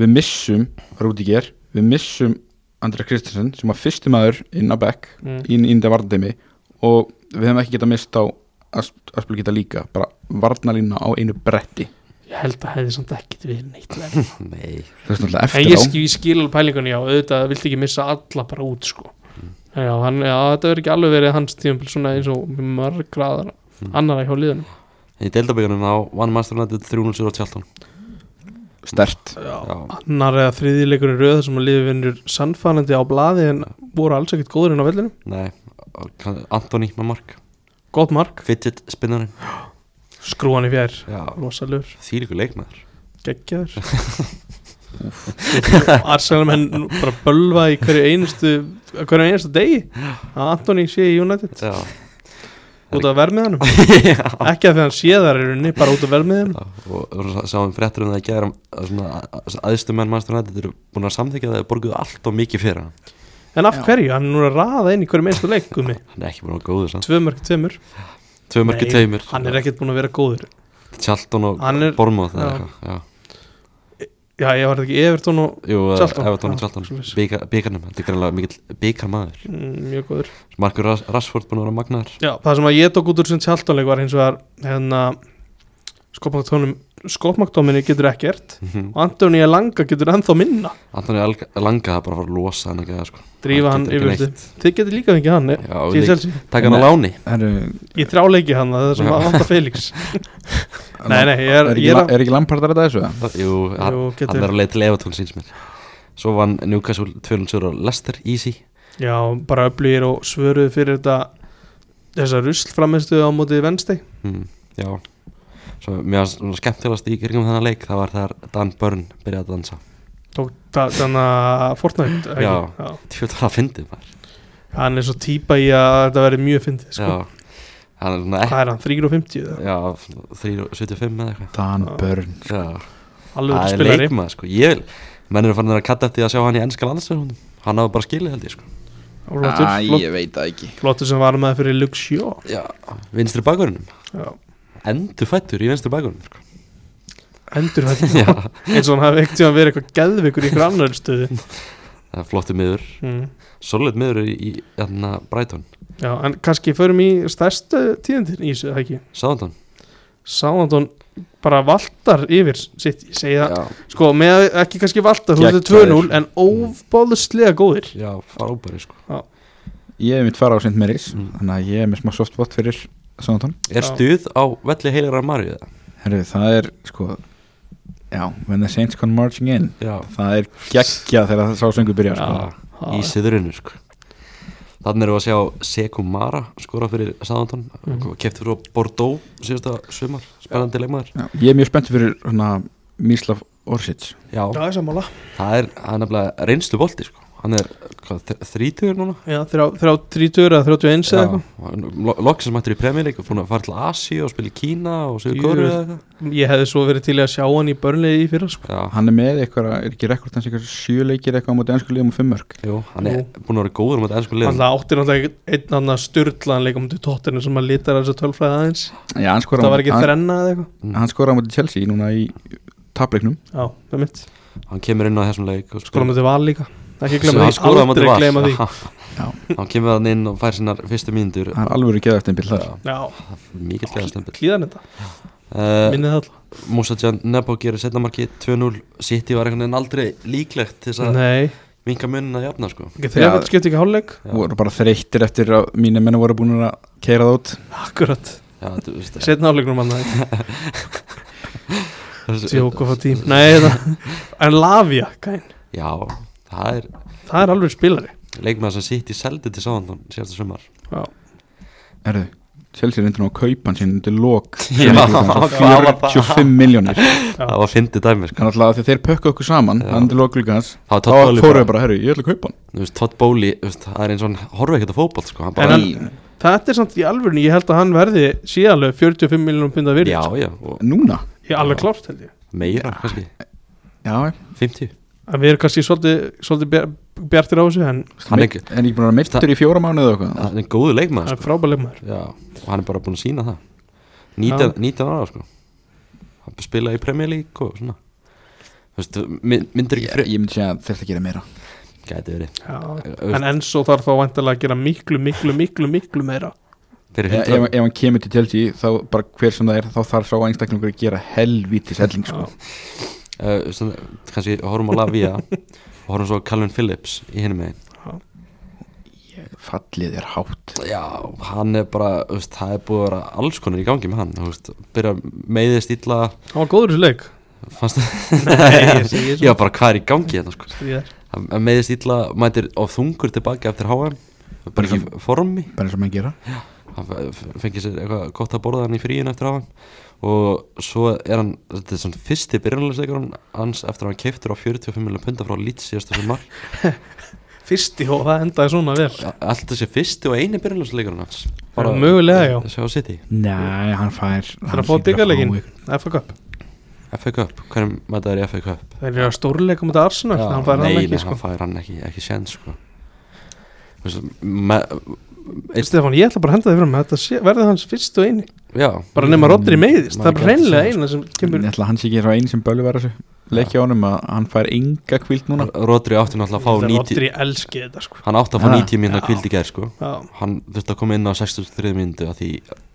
Speaker 3: við missum Rúdiger við missum André Kristensen sem var fyrstu maður inn á back
Speaker 2: mm.
Speaker 3: inn í þetta varndeimi og við hefum ekki getað mist á Aspil Keta líka bara varnalina á einu bretti
Speaker 2: ég held að hefði samt ekkit verið neitt læg
Speaker 1: Nei,
Speaker 3: þú veist náttúrulega
Speaker 2: En
Speaker 3: eftir
Speaker 2: ég,
Speaker 3: á
Speaker 2: skil, ég skil alveg pælingunni já, auðvitað viltu ekki missa alla bara út sko. já, hann, já, þetta verður ekki alveg verið hans tíðanbíl svona eins og margra aðra, annara hjá liðunum
Speaker 1: í deildabíðunum þá vann Master United 3-0 á Tjáltón
Speaker 3: stert
Speaker 1: Já,
Speaker 2: annar eða þriðileikurinn röð þar sem að liði vinnur sannfænandi á blaði en voru alls ekkert góður inn á vellinu
Speaker 1: nei og kann- Antoni með mark
Speaker 2: gott mark,
Speaker 1: Fidget spinnarinn
Speaker 2: skrúan í fjær
Speaker 1: Já,
Speaker 2: Losalur,
Speaker 1: þýlíku leikmaður
Speaker 2: geggjaður Arsenal menn nú bara bölva í hverju einustu á hverju einustu degi að Antoni sé í United
Speaker 1: Já,
Speaker 2: út af vermiðanum
Speaker 1: Já.
Speaker 2: ekki af því að hann sé þar í rauninni, bara út af vermiðanum
Speaker 1: Ah. Já, og og svo sáum fréttur um það í gær að gera svona aðstu menn mannstur nætti eru búin að samþykja það að borguðu allt og mikið fyrir hann
Speaker 2: en af
Speaker 3: Já.
Speaker 2: hverju, hann er nú að raða inn í hverju einustu leikum
Speaker 1: hann er ekki búin að vera góður sann
Speaker 2: tvö mörg tveimur
Speaker 1: tvö mörki
Speaker 2: Nei,
Speaker 1: tveimur
Speaker 2: hann er ekkert búin að vera góður
Speaker 1: Tjalton og
Speaker 2: Hann er-
Speaker 1: Bormóð
Speaker 2: Já.
Speaker 1: jú,
Speaker 2: já, ég var þetta ekki Everton og Charlton,
Speaker 1: Evertón
Speaker 2: já,
Speaker 1: og Tjalton
Speaker 2: svoleiðis.
Speaker 1: byggarnum, þetta er greinlega mikill byggarmaður
Speaker 2: mm, mjög góður
Speaker 1: Markur Ras Rashford búin að vera magnaður
Speaker 2: Já, það sem að ég tók út úr sem tjaldónleik var hins vegar hérna skopmaktóminni getur ekkert
Speaker 1: Mhm.
Speaker 2: og Antoni Langa getur ennþá minna
Speaker 1: Antoni Alga- Langa það bara að fara að losa hann ekki sko.
Speaker 2: drífa
Speaker 1: Hann
Speaker 2: hann
Speaker 1: getur ekki
Speaker 2: yfir þið þið getur líka fengið hann eh,
Speaker 1: Já,
Speaker 2: til
Speaker 1: lík-
Speaker 2: Chelsea.
Speaker 1: taka hann á
Speaker 3: Nei.
Speaker 1: láni
Speaker 3: Er,
Speaker 2: ég þráleiki hann það er sem
Speaker 1: Já.
Speaker 2: að vanta Felix nei, nei, ég er,
Speaker 3: er, ekki,
Speaker 2: ég er
Speaker 3: la,
Speaker 2: að
Speaker 3: er ekki lampardar þetta þessu? eða?
Speaker 1: jú, hann, hann er
Speaker 2: jú, getur,
Speaker 1: að leið til Evertón síns mér svo vann Newcastle 2-0 á Leicester, easy
Speaker 2: já, bara öflýir og svöruð fyrir þetta þessa rusl framistuð á mótið vensteg
Speaker 1: mm, já svo mér varst svona skemmtilegast í kringum þennan leik það var þar Dan Byrne byrjaði að dansa
Speaker 2: tók það- þannig að Fortnite ekki?
Speaker 1: Já.
Speaker 2: Já.
Speaker 1: tjótt var að fyndið maður
Speaker 2: hann er svo típa í að þetta verði mjög fyndið
Speaker 1: já,
Speaker 2: sko.
Speaker 1: hann er svona
Speaker 2: hvað er hann, 350 eða?
Speaker 1: ekki já, 375 eða eitthvað
Speaker 3: Dan
Speaker 2: Já.
Speaker 3: Byrn
Speaker 1: já, það
Speaker 2: alveg verið
Speaker 1: er
Speaker 2: spilari
Speaker 1: leikmað sko ég vil, menn eru farin að kalla eftir því að sjá hann í ennska landsverðunum hann hafa bara skilið held ég sko
Speaker 2: Flottur, flott,
Speaker 3: veit það ekki
Speaker 2: flottur sem var með fyrir Luxjó
Speaker 1: já, vinstri bakverðunum
Speaker 2: Já.
Speaker 1: endur fættur í vinstri bakverðunum sko.
Speaker 2: endur
Speaker 1: já,
Speaker 2: þetta eins og hann hafði ekkert tíma verið eitthvað geðvikur í ykkur annar stöðu
Speaker 1: það er flottu miður
Speaker 2: mm.
Speaker 1: solid miður í, í þarna Brighton
Speaker 2: Já, en kannski förum í stærstu tíðindir í þessu, það ekki
Speaker 1: Southampton
Speaker 2: Sáðandón bara valtar yfir sitt, ég segi það,
Speaker 1: já,
Speaker 2: sko, með ekki kannski valtar, þú veist
Speaker 3: Geggjaðir.
Speaker 2: 2-0 en óbáðuslega góðir
Speaker 1: já, frábæri sko
Speaker 3: Ég hef mitt fara á St. Mary's
Speaker 1: Mm.
Speaker 3: Þannig að ég er með smá softbot fyrir Sanaton
Speaker 1: er
Speaker 2: Já.
Speaker 1: stuð á velli heilara Maríu það?
Speaker 3: Herru, það er sko Já, when the saints come marching in
Speaker 1: já
Speaker 3: Það er geggja þegar það sá söngu byrja sko.
Speaker 1: Já, í siðurinu sko. Þannig erum við að sjá Sekumara skora fyrir Sáðantón
Speaker 2: Mhm.
Speaker 1: mm. Keftur frá Bordeaux síðasta sumar Spennandi leikmaður
Speaker 3: Já, Ég er mjög spennt fyrir hana, Mislav Orsic
Speaker 1: Já,
Speaker 2: Já, ég sammála
Speaker 1: það er, það er nefnilega reynslu bolti sko. Hann er hvað, þrítugur núna
Speaker 2: Já, þrjá, þrjá 30 eða 31 eða eitthvað
Speaker 1: Lokk sem hættur í premjörleik og búin að fara til Asi og spila í Kína og
Speaker 2: Jú.
Speaker 1: Sigur Kóru eða eitthvað
Speaker 2: Ég hefði svo verið til í að sjá hann í börnlegi í fyrra sko.
Speaker 1: Já,
Speaker 3: Hann er með eitthvað, er ekki rekord hans eitthvað sjö leikir eitthvað á móti ennsku liðum og fimm mörg
Speaker 1: jú, hann er búin að vera góður um þetta ennsku liðum
Speaker 2: Alltaf áttir náttúrulega einn annan styrlan leikum til tóttinu sem að litar þess að tölfræða aðeins
Speaker 3: Já, hann skorar
Speaker 2: Það var ekki
Speaker 3: hann,
Speaker 2: þrenna eða eitthvað
Speaker 3: hann skorar á móti Chelsea núna í tapleiknum
Speaker 2: Já, það er mitt
Speaker 1: Hann kemur inn á þessum leik og
Speaker 2: Skóla
Speaker 1: spilar-
Speaker 2: mútið val líka Ekki
Speaker 1: Já,
Speaker 2: glemma
Speaker 1: hann
Speaker 2: því,
Speaker 1: skoraði á móti
Speaker 2: aldrei
Speaker 1: Val.
Speaker 2: glemma því
Speaker 3: Já.
Speaker 1: Hann kemur hann inn og fær sínar fyrstu mínútur
Speaker 3: Hann er alveg geðast einn bíl þar
Speaker 2: Já,
Speaker 1: Mikið gæðastempill
Speaker 2: klíðan þetta,
Speaker 1: uh,
Speaker 2: minnið það alltaf
Speaker 1: Musa Jan Nebo gerir setnamarki 2-0 City var einhvern veginn aldrei líklegt til þess að
Speaker 2: Nei,
Speaker 1: minka munna að jafna sko.
Speaker 2: ekki þrefald skipt ekki hálfleik
Speaker 1: Já.
Speaker 3: voru bara þreyttir eftir að mínu menn voru búin að keira það út
Speaker 2: Akkurat,
Speaker 1: Já, þú veist
Speaker 2: setna hálfleiknum manna
Speaker 1: þessi-
Speaker 2: Tjók og fá tím Nei, það, en Lavia, gæn
Speaker 1: Já, það er
Speaker 2: Það er alveg spilari
Speaker 1: leikmaður sem City seldi til Sáhandón síðasta sumar
Speaker 2: Já,
Speaker 3: Erðu, Chelsea reyndir nú að kaupa hann sín undir lok
Speaker 1: Já, hvað var það?
Speaker 3: 45 miljónir
Speaker 1: Það var fyndið dæmi sko.
Speaker 3: Þannig að þegar þeir pökku okkur saman
Speaker 1: Já.
Speaker 3: hann undir lok líka hans
Speaker 1: Það var
Speaker 3: þá
Speaker 1: Todd Bowley
Speaker 3: fóru
Speaker 1: bara,
Speaker 3: við bara, herru, ég ætla að kaupa hann
Speaker 1: Þú veist, Todd Bowley þú veist, Það er eins og hann horfa ekkert á fótboll sko. hann
Speaker 2: En
Speaker 1: bara,
Speaker 2: þetta er samt í alvörni Ég held að hann verði síðalög 45 miljonum punda virði
Speaker 1: Já,
Speaker 2: sko.
Speaker 1: já, og
Speaker 3: Núna?
Speaker 2: Ég er alveg klárt held ég
Speaker 1: meira kannski
Speaker 3: Já,
Speaker 1: 50
Speaker 2: En við erum kannski svolítið, svolítið bjar- bjartir á þessu En
Speaker 1: Hann
Speaker 3: hann
Speaker 1: er
Speaker 3: er
Speaker 1: ekki-
Speaker 3: ekki búin að vera meittur í fjóra mánuð eða eitthvað
Speaker 1: Hann er góðu
Speaker 2: það
Speaker 1: leikmaður
Speaker 2: er
Speaker 1: sko.
Speaker 2: frábælega maður
Speaker 1: Já, og hann er bara búin að sína það 19, 19 ára sko Hann spilaði í Premier League og svona Þú veist, my- myndir ekki
Speaker 3: Ég,
Speaker 1: fri
Speaker 3: ég myndi segja að þetta gera meira
Speaker 1: Gæti verið
Speaker 2: Já,
Speaker 1: Þú
Speaker 2: En
Speaker 1: veist,
Speaker 2: Enzo þarf þá vantilega að gera miklu, miklu, miklu, miklu meira
Speaker 1: Fyrir
Speaker 3: Ef, ef,
Speaker 1: 100
Speaker 3: ef hann kemur til Chelsea þá bara hver sem það er þá þarf sá einstaklingur að gera helvítis helling sko.
Speaker 1: uh, svona, kannski horfum á Lavia og horfum svo á Calvin Phillips í hinum megin
Speaker 3: Fallið er hátt
Speaker 1: já, hann er bara, þú veist, það er búið að vera alls konar í gangi með hann, þú veist, byrja meiðist illa,
Speaker 2: Hann var góður í þessu leik
Speaker 1: fannst
Speaker 2: Nei, ég segi
Speaker 1: já, bara hvað er í gangi þetta, sko
Speaker 2: svona
Speaker 1: hann hann meiðist illa, mætir of þungur tilbaka eftir HM, bara ekki í formi
Speaker 3: bara eins og menn gera
Speaker 1: hann f- fengið sér eitthvað gott að borða hann í fríin eftir á hann og svo er hann, þetta er svona fyrsti byrjunarleiksleikur hans eftir að hann keiftur á 45 miljonar punda frá Leeds síðasta sumar
Speaker 2: fyrsti og það endaði svona vel
Speaker 1: allt þessi fyrsti og eini byrjunarleikur hans
Speaker 2: Bara, mögulega já,
Speaker 1: sjá City,
Speaker 3: Nei, hann fær
Speaker 2: hann að fá
Speaker 3: hlýtur að
Speaker 2: diggarleikinn.
Speaker 3: fá einhvern-
Speaker 2: FA Cup
Speaker 1: FA Cup, hvernig mæta er í FA Cup?
Speaker 2: þeir eru að stórleika mútið Arsenal
Speaker 1: Já,
Speaker 2: hann fær
Speaker 1: nei,
Speaker 2: hann
Speaker 1: nei,
Speaker 2: ekki sko
Speaker 1: hann fær hann ekki, ekki sén sko. Þú veist, me- einn-
Speaker 2: Stefán, ég ætla bara að henda þið fram þetta sé- verði hans fyrst og eini
Speaker 1: já,
Speaker 2: bara nema Rodri meiðist, það er bara
Speaker 1: Maður gæti
Speaker 2: hreinlega
Speaker 1: séð,
Speaker 2: eina sem kemur
Speaker 3: Ég ætla að hann sé ekki svo einn sem bölu verður þessu leikja á honum að hann fær ynga kvíld núna
Speaker 1: Rodri átti náttúrulega að fá 90
Speaker 2: Rodri elski þetta sko
Speaker 1: hann átti að fá
Speaker 3: Ha?
Speaker 1: 90 minna
Speaker 2: Já.
Speaker 1: kvild í gær sko.
Speaker 2: Já,
Speaker 1: hann þurfti að koma inn á 63 myndu að því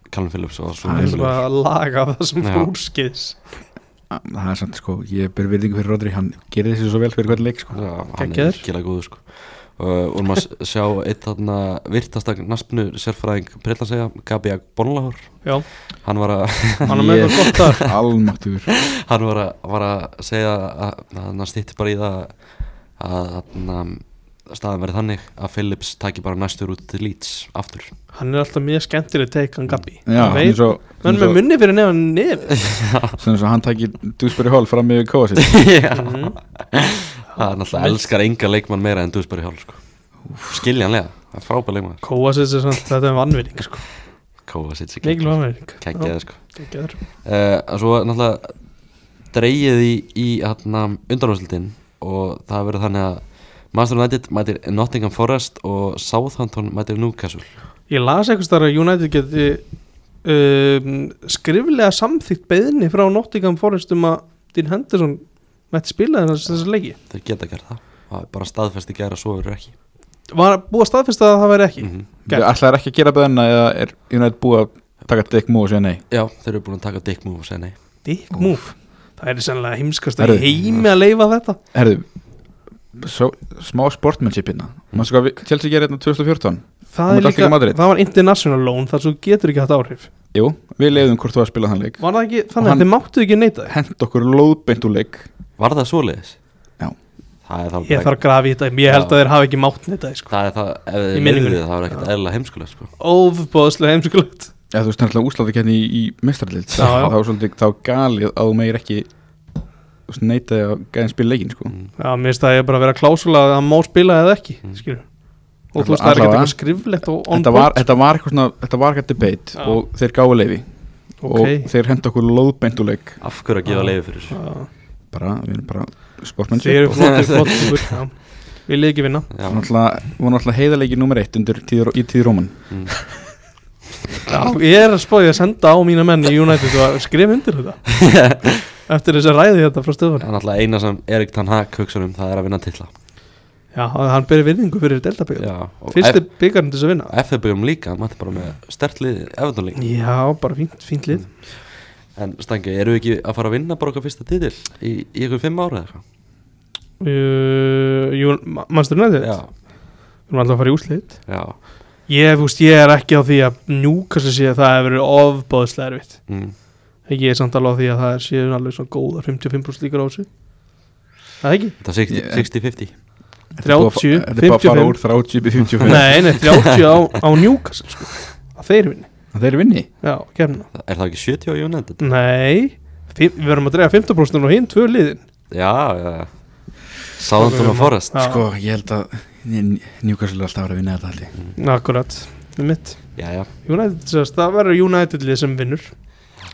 Speaker 1: Callum Phillips var svo
Speaker 2: það
Speaker 3: Hann
Speaker 2: er
Speaker 1: leiðinlegur.
Speaker 2: bara að laga það sem
Speaker 1: Já.
Speaker 2: fórskis
Speaker 3: Það er samt sko, ég ber virðingu fyrir Rodri hann gerir þessu svo vel fyrir hvern leik sko
Speaker 1: Já, hann er
Speaker 2: Geggjaður.
Speaker 1: virkilega góður sko. uh, og maður s- sjá eitt þarna virtasta naspnu sérfræðing Breitland segja, Gabi Bonlahor
Speaker 2: Já,
Speaker 1: hann var að,
Speaker 2: hann er með
Speaker 3: Ég-
Speaker 2: eitthvað gott þar
Speaker 3: Almáttugur
Speaker 1: hann var að, var að segja að að hann stýtti bara í það að, að, að staðan verið þannig að Phillips taki bara næstur út til Leeds aftur
Speaker 2: Hann er alltaf mjög skemmtileg teik hann Gabi Hann
Speaker 3: Já, hann er
Speaker 2: veit-
Speaker 3: svo
Speaker 2: hann er með munni fyrir nefn nefn
Speaker 3: Svona svo hann takir Dúsbury Hall fram yfir kóa sitt
Speaker 1: Já,
Speaker 2: Mhm.
Speaker 1: hann alltaf elskar enga leikmann meira en Dúsberg Hjálf sko. skiljanlega, það er frábær leikmann
Speaker 2: Kóasins er samt, þetta er vannvinning sko.
Speaker 1: Kóa sitt sig
Speaker 2: Mikil vannvinning
Speaker 1: Kækjaði sko
Speaker 2: Geggjaður.
Speaker 1: uh, Svo náttúrulega dreigið í, í hérna, undanúrslutin og það verður þannig að Master United mætir Nottingham Forest og Southampton mætir Newcastle
Speaker 2: Ég las eitthvað starf að United geti um, skriflega samþýtt beðni frá Nottingham Forest um að Dean Henderson mætti spila þess þessar leiki
Speaker 1: Þeir geta gert það Það er bara staðfest í gæra svo verður ekki
Speaker 2: Var búið að staðfesta að það væri ekki
Speaker 1: mm
Speaker 2: Gæt.
Speaker 3: Ætlar ekki að gera beðina eða er United búið að taka Dick Moore og segja nei
Speaker 1: Já, þeir eru búin að taka Dick Move og segja nei
Speaker 2: Dick move Það er sannlega heimskast að
Speaker 3: Herðu.
Speaker 2: heimi að leifa þetta
Speaker 3: Herðu, svo, smá sportmanship hérna
Speaker 2: Mm.
Speaker 3: Mástu hvað við- Chelsea gerir hérna 2014
Speaker 2: Það, er
Speaker 3: Hún er Atletico
Speaker 2: líka,
Speaker 3: Madrid.
Speaker 2: það var international loan þar svo getur ekki haft áhrif
Speaker 3: Jú, við leiðum hvort þú að spila þann leik
Speaker 2: Var það ekki,
Speaker 3: Og
Speaker 2: þannig
Speaker 3: hann-
Speaker 2: að þið máttu ekki neita því?
Speaker 3: Hent okkur lóðbeint úr leik
Speaker 1: Var það svoleiðis?
Speaker 3: Já.
Speaker 1: Það er þá
Speaker 2: Ég þarf að grafi í þetta, ég held að þeir hafi ekki mátt neita því, sko.
Speaker 1: Það er það, ef
Speaker 2: Í
Speaker 1: þið
Speaker 2: minningunni.
Speaker 1: leiðið það var ekkert eðla heimskulega sko.
Speaker 2: Ófbóðslega heimskulegt
Speaker 3: Já, þú veist náttúrulega úsláðakenni í, í mestrarlild
Speaker 2: Já, já.
Speaker 3: þá er svolítið þá galið að þú meir ekki þú veist, neita að gæðin spila leikinn sko.
Speaker 1: Mm.
Speaker 2: Já, mér finnst að ég bara að vera klásula að hann má spila eða ekki,
Speaker 1: Mm.
Speaker 2: skilur
Speaker 3: Alla-
Speaker 2: Og þú veist, það er ekki
Speaker 3: allavega.
Speaker 2: eitthvað skriflegt og on
Speaker 3: þetta, var, þetta var eitthvað svona þetta var eitthvað debate
Speaker 2: Já.
Speaker 3: og þeir gáðu leifi
Speaker 2: Ok.
Speaker 3: og þeir hendu okkur lóðbeint úr leik
Speaker 1: Af hverju að gefa
Speaker 2: Já.
Speaker 1: leiði fyrir þessu?
Speaker 2: Já,
Speaker 3: bara, við erum bara
Speaker 2: Þeir
Speaker 3: sportmennir
Speaker 2: eru
Speaker 3: og
Speaker 2: flottir, flottir stúkur, já. Vil ég ekki vinna
Speaker 1: Já,
Speaker 3: það var náttúrulega, var náttúrulega heiðarleiki nummer eitt undir tíð, í tíð Róman
Speaker 1: mm.
Speaker 2: já, Ég er að spáði að senda á mína menn í United og skrif undir þetta Eftir þess að ræði þetta frá
Speaker 1: Það
Speaker 2: stöðunum
Speaker 1: er náttúrulega eina sem Erik Tann Hag hugsa um það er að vinna titla
Speaker 2: Já, hann byrði virðingu fyrir Delta byggarn
Speaker 1: Já, og
Speaker 2: Fyrsti byggarn til þess að vinna
Speaker 1: FF byggjum líka, maður bara með stert lið Everton líka,
Speaker 2: Já, bara fínt, fínt lið
Speaker 1: en Stangi, eru við ekki að fara að vinna bara okkar fyrsta titil í, í ykkur fimm ára eða eitthvað?
Speaker 3: Mm.
Speaker 2: Uh, Jú- Ma- Manchester United
Speaker 1: Já,
Speaker 2: Við erum alltaf að fara í úslit
Speaker 1: já
Speaker 2: Ég, þú veist, ég er ekki á því að Newcastle sé að það hefur verið ofbáðslega erfitt
Speaker 1: mm.
Speaker 2: En Ég er samt alveg á því að það séu alveg svona góða 55% líkur á þessu Það ekki?
Speaker 1: Þetta er 60
Speaker 3: Ég-
Speaker 1: 60-50
Speaker 3: Þetta er búið að fa-
Speaker 2: 30,
Speaker 3: þetta er bara að fara
Speaker 2: 55.
Speaker 3: úr 30 upp í 55
Speaker 2: Nei, nei, 30 á, á Newcastle sko. að þeir vinni
Speaker 3: þeir eru vinni
Speaker 2: Já, kemna
Speaker 1: Er það ekki 70 á United?
Speaker 2: Nei, fimm, við verðum að drega 15% og hinn tvö liðin
Speaker 1: Já, já, já Sáðantun og Forrest
Speaker 2: Já,
Speaker 3: sko, ég held að Newcastle er alltaf að vera að vinna þetta allir
Speaker 2: Akkurat, með mitt
Speaker 1: Já, já,
Speaker 2: United, sérst, það verður United lið sem vinnur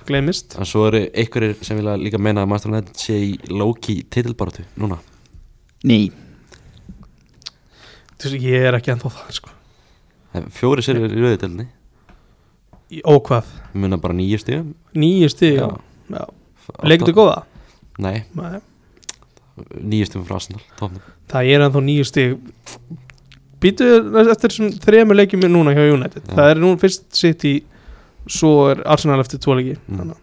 Speaker 2: Gleimist
Speaker 1: en svo eru einhverjir sem vilja líka meina að Master United sé í Loki titilbaratu núna
Speaker 3: Nei,
Speaker 2: Þessi, Ég er ekki ennþá það sko.
Speaker 1: En Fjóri serið Eh, í rauðitilni
Speaker 2: Í- Ó hvað,
Speaker 1: Muna bara nýju stíðum
Speaker 2: nýju stig já. Já. Leikdu góða?
Speaker 1: Nei,
Speaker 2: Nei.
Speaker 1: nýju stíðum frá Arsenal Tóknum
Speaker 2: Það er ennþá nýju stig Býtu eftir þessum þremur leikjum núna hjá United
Speaker 1: Já.
Speaker 2: Það er nú fyrst sitt í Svo er Arsenal eftir tvo leiki
Speaker 1: Mm.
Speaker 2: Þannig að-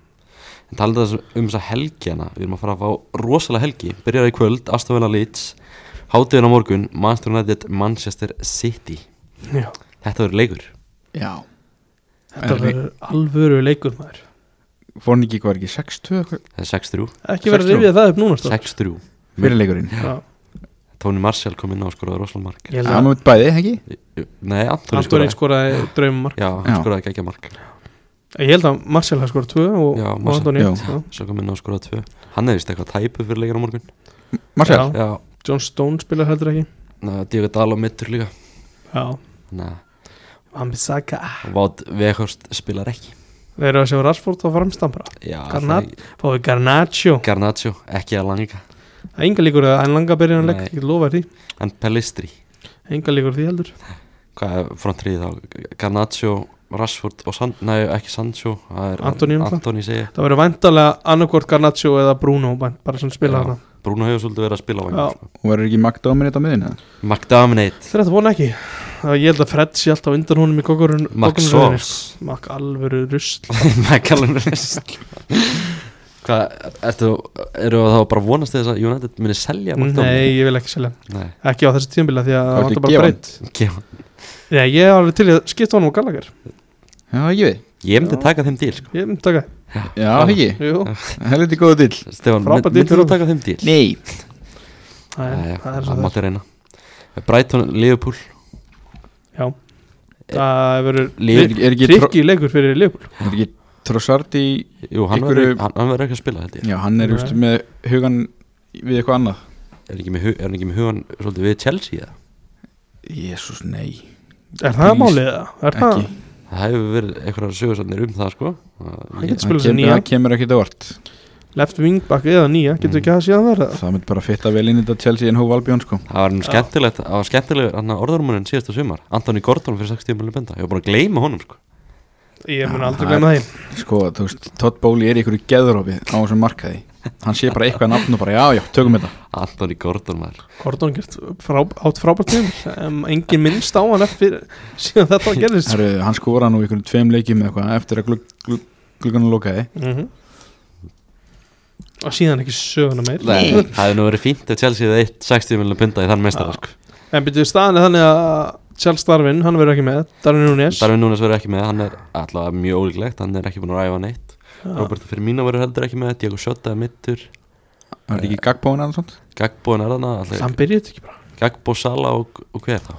Speaker 1: En talaðu þess um þess að helgjana Við erum að fara að fá rosalega helgi Byrjar í kvöld, Aston Villa Leeds Hátuðin á morgun, Manchester United, Manchester City
Speaker 2: Já,
Speaker 1: Þetta verður leikur
Speaker 3: já
Speaker 2: Þetta
Speaker 3: Er-
Speaker 2: verður alvöru leikur maður
Speaker 3: Fórn ekki var ekki 6-2 eitthvað
Speaker 1: Það er 6-3
Speaker 2: Ekki verður að
Speaker 3: 6-3.
Speaker 2: rifja það upp núna strákar.
Speaker 1: 6-3
Speaker 3: fyrir leikurinn
Speaker 2: sko. Já.
Speaker 1: Tony Marshall kom inn á og skoraði rosalega mark Eh,
Speaker 2: Ég held
Speaker 3: Hann
Speaker 2: að
Speaker 3: með bæði, ekki?
Speaker 1: Nei, Antoni
Speaker 2: Antoni
Speaker 1: skoraði
Speaker 2: skoraði draumamark
Speaker 1: Já, hann
Speaker 3: Já.
Speaker 1: skoraði geggja mark
Speaker 2: Ég held að Marcel hafði skorað tvö og,
Speaker 1: Já,
Speaker 2: og sko.
Speaker 1: Marcel.
Speaker 2: Antoni
Speaker 3: Já.
Speaker 2: eitt, já.
Speaker 1: Svo kom inn á og skoraði tvö Hann hefði vist eitthvað tæpu fyrir leikina á morgun
Speaker 3: Marcel,
Speaker 2: Já.
Speaker 1: Já,
Speaker 2: John Stone spilar heldur ekki
Speaker 1: Ná, Diego Dala mittur líka
Speaker 2: Já,
Speaker 1: Þannig að
Speaker 2: Ambisaka
Speaker 1: Vátt Veghorst spilar ekki
Speaker 2: Þeir eru að sjá Rashford á framstambra
Speaker 1: Já,
Speaker 2: Garnat-
Speaker 1: það er-
Speaker 2: Fáðu Garnaccio
Speaker 1: Garnaccio, ekki að langa
Speaker 2: Það er enga líkur að hann langa byrja hann leik
Speaker 1: Nei.
Speaker 2: Ég lofa því,
Speaker 1: En Pellistri,
Speaker 2: enga líkur því heldur
Speaker 1: hvað er frontrýði þá? Garnaccio, Rashford og San, nei, ekki Sancho það er
Speaker 2: Antoni náttúrulega.
Speaker 1: Antoni segi
Speaker 2: Það verður væntalega annarkvort Garnaccio eða Bruno vænt- bara sem spila
Speaker 1: Já.
Speaker 2: þarna
Speaker 1: Bruno hefur svolítið verið að spila á sko.
Speaker 2: Já.
Speaker 1: vangum
Speaker 3: hún verður ekki magdómin þetta miðin
Speaker 1: McDaminate,
Speaker 2: Þeir þetta vona ekki Það ég held að Fred sé alltaf undan honum í kokkurinn
Speaker 1: Max Sors
Speaker 2: Makk alvöru rusl
Speaker 1: McCallum Russell Hvað, ertu, eru þá bara að vonast til þess að United muni selja McDominay?
Speaker 2: Nei, ég vil ekki selja hann.
Speaker 1: Nei,
Speaker 2: Ekki á þessu tíðanbila því að
Speaker 3: Hvað
Speaker 2: það
Speaker 3: ertu
Speaker 2: vantar bara
Speaker 3: að gefa
Speaker 2: breytt
Speaker 1: ekki
Speaker 2: Nei, ég er alveg til í að skipta honum og Gallagher
Speaker 3: Já, ekki við
Speaker 1: Ég myndi
Speaker 2: Já.
Speaker 1: taka þeim díl sko.
Speaker 2: Ég myndi taka
Speaker 3: Já,
Speaker 1: Já.
Speaker 3: ekki,
Speaker 2: það Jú,
Speaker 3: helviti góða dill
Speaker 1: Stefán, mynd,
Speaker 2: Frábær deal
Speaker 1: myndir
Speaker 2: fyrir
Speaker 1: þú
Speaker 2: okkur.
Speaker 1: taka þeim díl?
Speaker 3: Nei
Speaker 2: það er- það er svo
Speaker 1: Það
Speaker 2: það
Speaker 1: mátti reyna Brighton, Liverpool
Speaker 2: Já, það
Speaker 1: Liv-
Speaker 2: verður
Speaker 3: Er ekki, tro,
Speaker 2: Rikki leikur fyrir Leopold
Speaker 3: er ekki trossart í
Speaker 1: Jú, hann
Speaker 3: Einhverju-
Speaker 1: verður hann, hann verður ekki að spila held ég
Speaker 3: Já, hann er
Speaker 2: Nei.
Speaker 3: just, með hugan við eitthvað annað
Speaker 1: Er hann ekki með, hu- er hann ekki með hugan svolítið við Chelsea það?
Speaker 3: Jésús, nei,
Speaker 2: Er það
Speaker 3: Please.
Speaker 2: málið það? Er það?
Speaker 3: ekki
Speaker 1: Það hefur verið einhverjar sögursarnir um það sko Það-
Speaker 2: Hann
Speaker 1: ég-
Speaker 2: getur
Speaker 3: Það
Speaker 2: spilað sem
Speaker 3: kemur,
Speaker 2: nýja
Speaker 3: það kemur ekkert á vart
Speaker 2: Left wingback eða nýja, getur
Speaker 3: Mm.
Speaker 2: ekki að síðan verða
Speaker 3: Það myndi bara fitta vel inn í þetta Chelsea en hóf Albjón sko
Speaker 1: Það var nú skemmtilegt, það var skemmtileg hann að orðarmunin síðasta sumar Antoni Gordon fyrir 60 miljonum benda Ég var búin að gleyma honum sko
Speaker 2: Ég mun
Speaker 3: Já,
Speaker 2: aldrei
Speaker 3: Ah, það er-
Speaker 2: glemma það
Speaker 3: Sko, þú veist, Todd Bowley er í einhverju geðrópi á þessum markaði Hann sé bara eitthvað nafn og bara, já, já, tökum þetta
Speaker 1: Antoni Gordon maður
Speaker 2: Gordon gert frá, átt frábært tíum um, Engin minnst á hann eftir síðan þetta gerðist
Speaker 3: Herru, hann skora nú í einhverjum tveim leikjum eða eitthvað eftir að glugg, glugg, glugganum lokaði
Speaker 2: mm Og síðan ekki söguna meir
Speaker 1: Nei, Það hefði nú verið fínt ef Chelsea hefði eitt 60 miljonum benda í þann mestara
Speaker 2: Já.
Speaker 1: sko
Speaker 2: En byrjuðu staðan er þannig að Charles Darwin, hann verður ekki með Darwin Núnes
Speaker 1: Darvin Núnes verður ekki með, hann er allavega mjög ólíklegt Hann er ekki búin að ræfa neitt
Speaker 2: Ah,
Speaker 1: Robert Firmino verður heldur ekki með, Diego Shota er mittur
Speaker 3: Það er ekki gagbóin eða svona
Speaker 1: Gagbo er þarna alltaf-
Speaker 2: Hann byrjuði þetta ekki bara
Speaker 1: Gagbo, Sala og, og hver þá?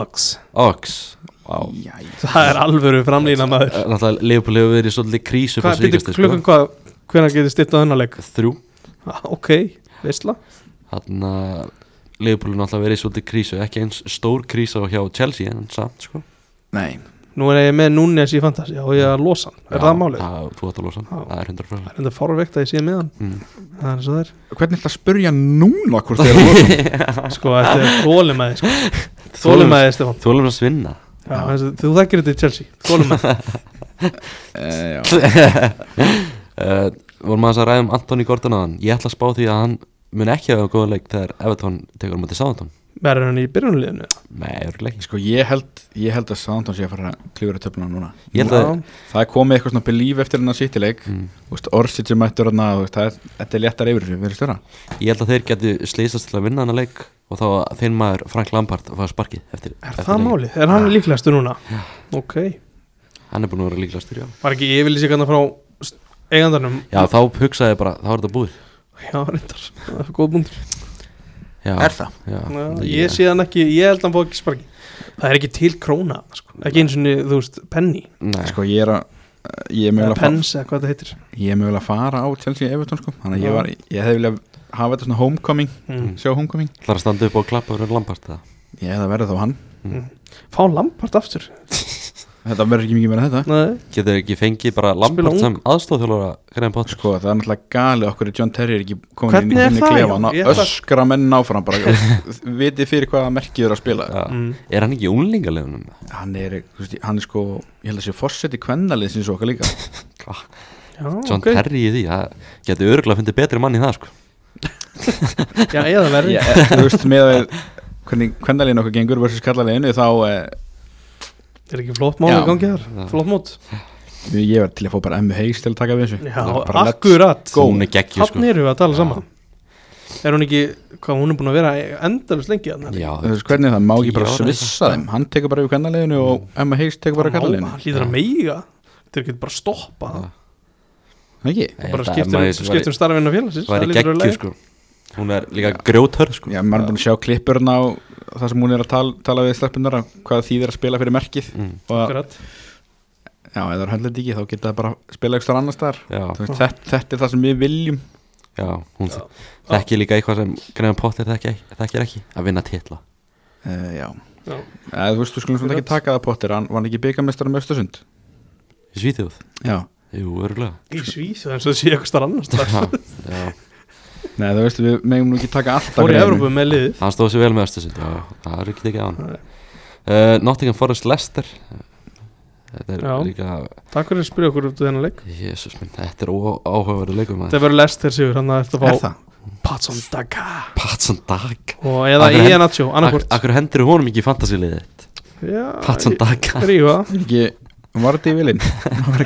Speaker 2: Ox
Speaker 1: Ox Vá.
Speaker 3: Jæja.
Speaker 2: Það er alvöru framlýna maður
Speaker 1: Náttúrulega Leopold hefur verið í svolítið krísu
Speaker 2: Hvað,
Speaker 1: sko.
Speaker 3: sko.
Speaker 2: byrjuðu klukkan hvað, hvenær getur stittað þennan leik?
Speaker 1: Þrjú
Speaker 2: Ah, Ok, veistla
Speaker 1: Þannig að Leopold hefur náttúrulega verið í svolítið krísu Ekki eins stór krísa hjá Chelsea En samt sko
Speaker 3: Nei,
Speaker 2: Nú er ég með Núnes í Fantasí og ég er að losa hann, er það málið?
Speaker 1: Já, þú átt að losa hann.
Speaker 2: Já.
Speaker 1: Það er 100%
Speaker 2: Það er enda fárveikt að ég sé með hann
Speaker 1: Mm.
Speaker 2: Það er eins og það er
Speaker 3: hvernig ætla að spurja núna hvort þeir eru að losa
Speaker 2: Sko, þetta er þólimaði sko. Þólimaði, Stefán
Speaker 1: Þólum að svinna
Speaker 2: Já, þessi, Þú þekkir þetta í Chelsea Þólimaði
Speaker 3: Eh, já.
Speaker 1: uh, Vorum aðeins að ræða um Antoni Gordon aðan Ég ætla að spá því að hann mun ekki hafa góða leik Þegar Everton tekur á móti Southampton
Speaker 2: Verður hann í byrjunliðinu?
Speaker 1: Nei, örugglega ekki
Speaker 3: Sko, ég held, ég held að Southampton sé að fara að klifra töfluna núna
Speaker 1: Ég held að-
Speaker 3: Það er komið eitthvað svona belief eftir hennar
Speaker 1: sko.
Speaker 3: sýttileik mm. Orsic er mættur hann að þetta er léttar yfir þessu, verður störa
Speaker 1: Ég held að þeir getu slýsast til að vinna hann að leik Og þá að þinn maður Frank Lampard að fá sparkið eftir,
Speaker 2: Er
Speaker 1: eftir
Speaker 2: það
Speaker 1: leik.
Speaker 2: málið? Er hann líklegastur núna? Ok
Speaker 1: Hann er búin að vera líklega styrja
Speaker 2: Var ekki yfirlýsingarna frá st- eigandarnum?
Speaker 1: Já, þá hugsaði ég bara, þá er þetta búið
Speaker 2: Já, reyndar Það er góð búndur
Speaker 1: já,
Speaker 3: það?
Speaker 1: Já,
Speaker 2: Já,
Speaker 1: ég-
Speaker 2: Ég sé hann ekki, ég held að hann fóð ekki sparki Það er ekki til króna sko. Ekki eins og þú veist, penny
Speaker 1: Nei,
Speaker 3: Sko, ég er að Ég er
Speaker 2: Eða
Speaker 3: mögulega að
Speaker 2: pens eða hvað það heitir
Speaker 3: fara- ég er mögulega að fara á Chelsea Everton sko. Þannig að
Speaker 2: Já.
Speaker 3: ég, var, ég hefði viljað hafa þetta svona homecoming
Speaker 2: mm.
Speaker 3: Sjá homecoming
Speaker 1: það er að standa upp og klappa fyrir Lampard það
Speaker 3: Ég hefði að verða þá hann
Speaker 2: Fá Lampart aftur
Speaker 3: Þetta verður ekki mikið meira en þetta
Speaker 2: Nei,
Speaker 1: Getur ekki fengið bara
Speaker 2: Spila
Speaker 1: Lampard
Speaker 2: ung.
Speaker 1: sem aðstofþjólara Graham Potter
Speaker 3: Sko, það er náttúrulega galið okkur er John Terry er ekki komin
Speaker 2: Hvernig er
Speaker 3: inn í
Speaker 2: það, já?
Speaker 3: hann
Speaker 2: Ég
Speaker 3: að
Speaker 2: ætla-
Speaker 3: öskra menn áfram bara Vitið fyrir hvaða merkið er að spila
Speaker 1: Já.
Speaker 2: Mm.
Speaker 1: Er hann ekki í unglingalegunum?
Speaker 3: hann er, þú veist, hann er sko ég held að sé fórseti kvennalið sinns okkar líka
Speaker 1: Hva?
Speaker 2: já,
Speaker 1: John
Speaker 2: ok.
Speaker 1: Terry í því, það getur örgulega fundið betri mann í það sko
Speaker 2: Já, eða verri
Speaker 3: Ég- eh, þú veist, með að hvernig kvennaliðin okkar gengur versus kallaliðinu þá eh,
Speaker 2: Er ekki flott mál
Speaker 3: Já.
Speaker 2: að gangi þar?
Speaker 1: Já.
Speaker 2: Flott mót
Speaker 3: ég var til að fá bara emmu heils til að taka við þessu
Speaker 2: Já,
Speaker 3: bara let's
Speaker 2: akkurat
Speaker 3: go.
Speaker 1: Hún er geggju sko
Speaker 2: Þannig erum við að tala
Speaker 1: Já.
Speaker 2: saman Er hún ekki, hvað hún er búin að vera endalist lengi þarna
Speaker 1: Já,
Speaker 3: Þú veist, hvernig er það má ekki
Speaker 1: Tíu
Speaker 3: bara
Speaker 1: ára
Speaker 3: svissa þeim hann tekur bara yfir kvennaliðinu og emmu heils tekur bara
Speaker 2: Hann
Speaker 3: kallaliðinu
Speaker 2: hlýður að meiga Þetta er ekki bara að stoppa það
Speaker 1: Já.
Speaker 3: ekki?
Speaker 2: Og bara
Speaker 1: Þetta-
Speaker 2: skiptir,
Speaker 1: maður-
Speaker 2: skiptir um starfinu félagsins
Speaker 1: væri
Speaker 2: það hlýtur að vera
Speaker 1: geggju
Speaker 2: leið.
Speaker 1: sko Hún er líka grjóthörð sko
Speaker 3: Já, maður er búin að sjá klippurna á það sem hún er að tala, tala við stelpunar að hvað þýðir að spila fyrir merkið
Speaker 1: Mm.
Speaker 3: og að,
Speaker 2: akkurat
Speaker 3: já, ef það er höndlega ekki þá geta það bara að spila eitthvað annars þar
Speaker 1: Já,
Speaker 3: veist, þetta, þetta er það sem við viljum
Speaker 1: já, hún já. þekkir líka eitthvað sem Graham Potter þekkir, þekkir ekki að vinna titla
Speaker 3: uh, Já,
Speaker 2: Já.
Speaker 3: Eða, Eh, þú veist, þú skulum svona ekki taka það Potter hann var hann ekki um byggamestara með Östasund
Speaker 1: Í Svíþjóð,
Speaker 3: Já,
Speaker 1: jú, örugglega
Speaker 2: í Svíþjóð eins og það sé eitthvað starf annars staðar.
Speaker 1: Já,
Speaker 3: Nei, þú veist, við megum nú ekki taka alltaf
Speaker 2: fór í
Speaker 3: greiðinu.
Speaker 2: Evrópu með liðið
Speaker 1: hann stóð sér vel með Östersund Já, það er ekki ekki á hann
Speaker 2: Nei.
Speaker 1: uh, Nottingham Forest Leicester Þetta er
Speaker 2: Já.
Speaker 1: líka
Speaker 2: takk fyrir að spyrja okkur út á þennan leik
Speaker 1: Jésus minn, þetta er óáhugaverðu leikum maður.
Speaker 2: þetta verður lest þér sigur hann að eftir
Speaker 3: Er
Speaker 2: að fá
Speaker 3: það?
Speaker 2: Patson Daga
Speaker 1: Patson Dag
Speaker 2: og eða
Speaker 1: Akkur-
Speaker 2: Ianacho annarkvort
Speaker 1: Akkur hendur honum ekki í fantasiliðið þitt? Patson Dag
Speaker 2: Rífa
Speaker 3: Ekki, var þetta í vilin?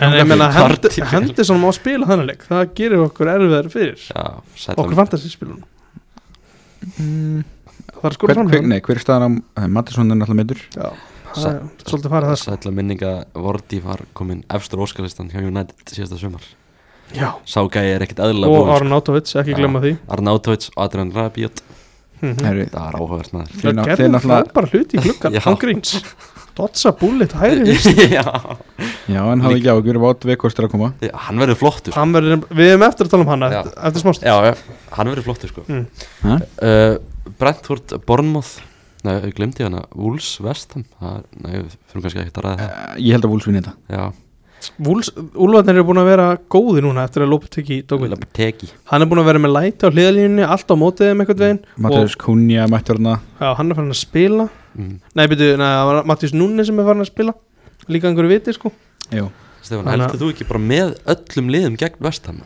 Speaker 2: En ég meina
Speaker 1: Þar til-
Speaker 2: hendur svona má spila þannig leik Það gerir okkur erfiðar fyrir
Speaker 1: Já, sætla
Speaker 2: Okkur fantasyspilun
Speaker 3: Mm,
Speaker 2: Það er skora
Speaker 3: hver,
Speaker 2: fram
Speaker 3: hver, nei, hver er staðan á Eh, Mattisson er náttúrulega meittur
Speaker 2: Já, það er svolítið farið þess
Speaker 1: Sætla minninga Vordi var komin efstur óskalistan hjá United síðasta sumar
Speaker 2: Já,
Speaker 1: Ságæi er ekkit eðlilega
Speaker 2: og
Speaker 1: búið sko.
Speaker 2: Arnautovic, ekki
Speaker 1: Já.
Speaker 2: glemma því
Speaker 1: Arnautovic og Adrian Rabiot
Speaker 2: Mhm.
Speaker 3: Herri,
Speaker 1: Það er áhugavert maður
Speaker 3: Þeir
Speaker 2: Það
Speaker 3: ná- þeir
Speaker 2: gerði
Speaker 3: náttúrulega-
Speaker 2: frábæra hluti í gluggan
Speaker 1: Já.
Speaker 2: Hann gríns Dotsa búlit hæri vinstri.
Speaker 1: Já.
Speaker 3: Já, en hafði ekki á okkur, vát veikostur að koma
Speaker 1: Já, Hann verður flottur
Speaker 2: Hann verður, við erum eftir að tala um hana
Speaker 1: Já.
Speaker 2: eftir- Eftir smást
Speaker 1: Já, já, hann verður flottur sko
Speaker 2: Mm.
Speaker 3: Ha?
Speaker 1: uh, Brentford Bournemouth Nei, ég glemdi hana Wolves Vestham Það er- Nei, við fyrir kannski ekkert að ræða það
Speaker 3: Eh, Ég held að Wolfsvinn þetta
Speaker 1: Já,
Speaker 2: Úlfarnir eru búin að vera góði núna Eftir að Lopetegui tók við
Speaker 1: Teki
Speaker 2: Hann er búin að vera með læti á hliðalínunni Allt á mótið þeim eitthvað veginn
Speaker 3: Mattias Kunja mættur hana
Speaker 2: Já, hann er farin að spila
Speaker 1: mm.
Speaker 2: Nei, byrju, nei, það var Mattias Núni sem er farin að spila Líka einhverju viti, sko
Speaker 3: Jú,
Speaker 1: Stefán,
Speaker 2: Þannig að-
Speaker 1: heldur þú ekki bara með öllum liðum gegn Vestham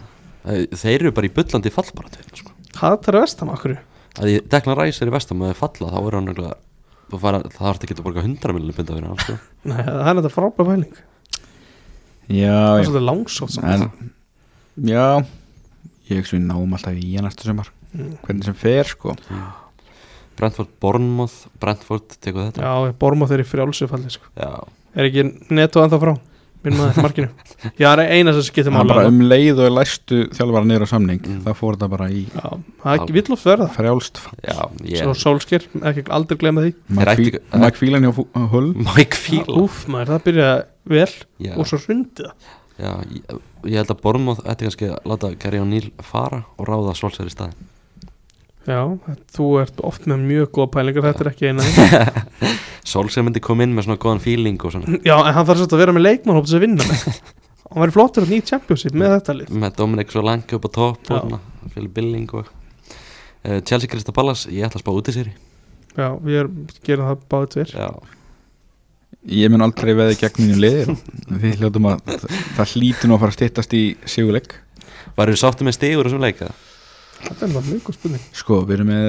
Speaker 1: Þeir eru bara í bullandi fallbaratu hérna, sko.
Speaker 2: Hattar vestam, akkur
Speaker 1: að því Declan Rice er í Vestham og þeir falla þá er hann nefnilega þá fara- þá þarf ekki að borga 100 miljonir bynda fyrir hann sko.
Speaker 2: Nei, það er þetta frábæð fæling Það
Speaker 3: já,
Speaker 2: er
Speaker 3: já
Speaker 2: svolítið langsótt samt.
Speaker 3: En, já Ég hugsa við náum alltaf í hann næsta sumar
Speaker 2: Mm.
Speaker 3: Hvernig sem fer, sko
Speaker 1: Brentford Bournemouth Brentford tekur þetta
Speaker 2: Já, ég borma þeirri frjálsufalli sko.
Speaker 1: Já.
Speaker 2: Er ekki netto ennþá frá Minn maður í markinu Já, það er eina sem skiptir
Speaker 3: Það
Speaker 2: máli
Speaker 3: bara
Speaker 2: þarna.
Speaker 3: um leið og læstu þjálfara niður á samning
Speaker 1: Mm.
Speaker 3: Það fór þetta bara í
Speaker 2: Já, það er ekki vill oft verða
Speaker 3: frjálst
Speaker 1: Já,
Speaker 2: yeah. Svo
Speaker 1: ég
Speaker 2: sólsker, ekki aldrei glemma því
Speaker 1: Þeir ættu-
Speaker 3: Magfílan hjá Fú- Hull
Speaker 1: Mike Fíla
Speaker 2: Úf maður, það byrjaði vel
Speaker 1: Já,
Speaker 2: og svo hrundi það
Speaker 1: já ég, ég held að Bournemouth ætti kannski að láta Gary O'Neill fara og ráða Solskjaer í staðin
Speaker 2: Já, þú ert oft með mjög góða pælingar, þetta er ekki eina
Speaker 1: Solskjaer myndi koma inn með svona góðan feeling og svona
Speaker 2: Já, en hann þarf svolítið að vera með leikmannhóp sem vinna með Hann væri flottur að nýja championship með þetta lið
Speaker 1: með Dominic svo langi upp á topp
Speaker 2: Já.
Speaker 1: og svona Philip Billing og uh, Chelsea Crystal Palace, ég ætla að spá út í sér
Speaker 2: Já, við erum, gerum það báðið tveir
Speaker 1: Já,
Speaker 3: Ég mun aldrei veði gegn mínu liðir Við hljótum að það hlýtur nú að fara að styttast í sigurleik
Speaker 1: varum við sáttum með stigur og sem leika
Speaker 2: Þetta er það mjög góð spurning
Speaker 3: Sko, við erum með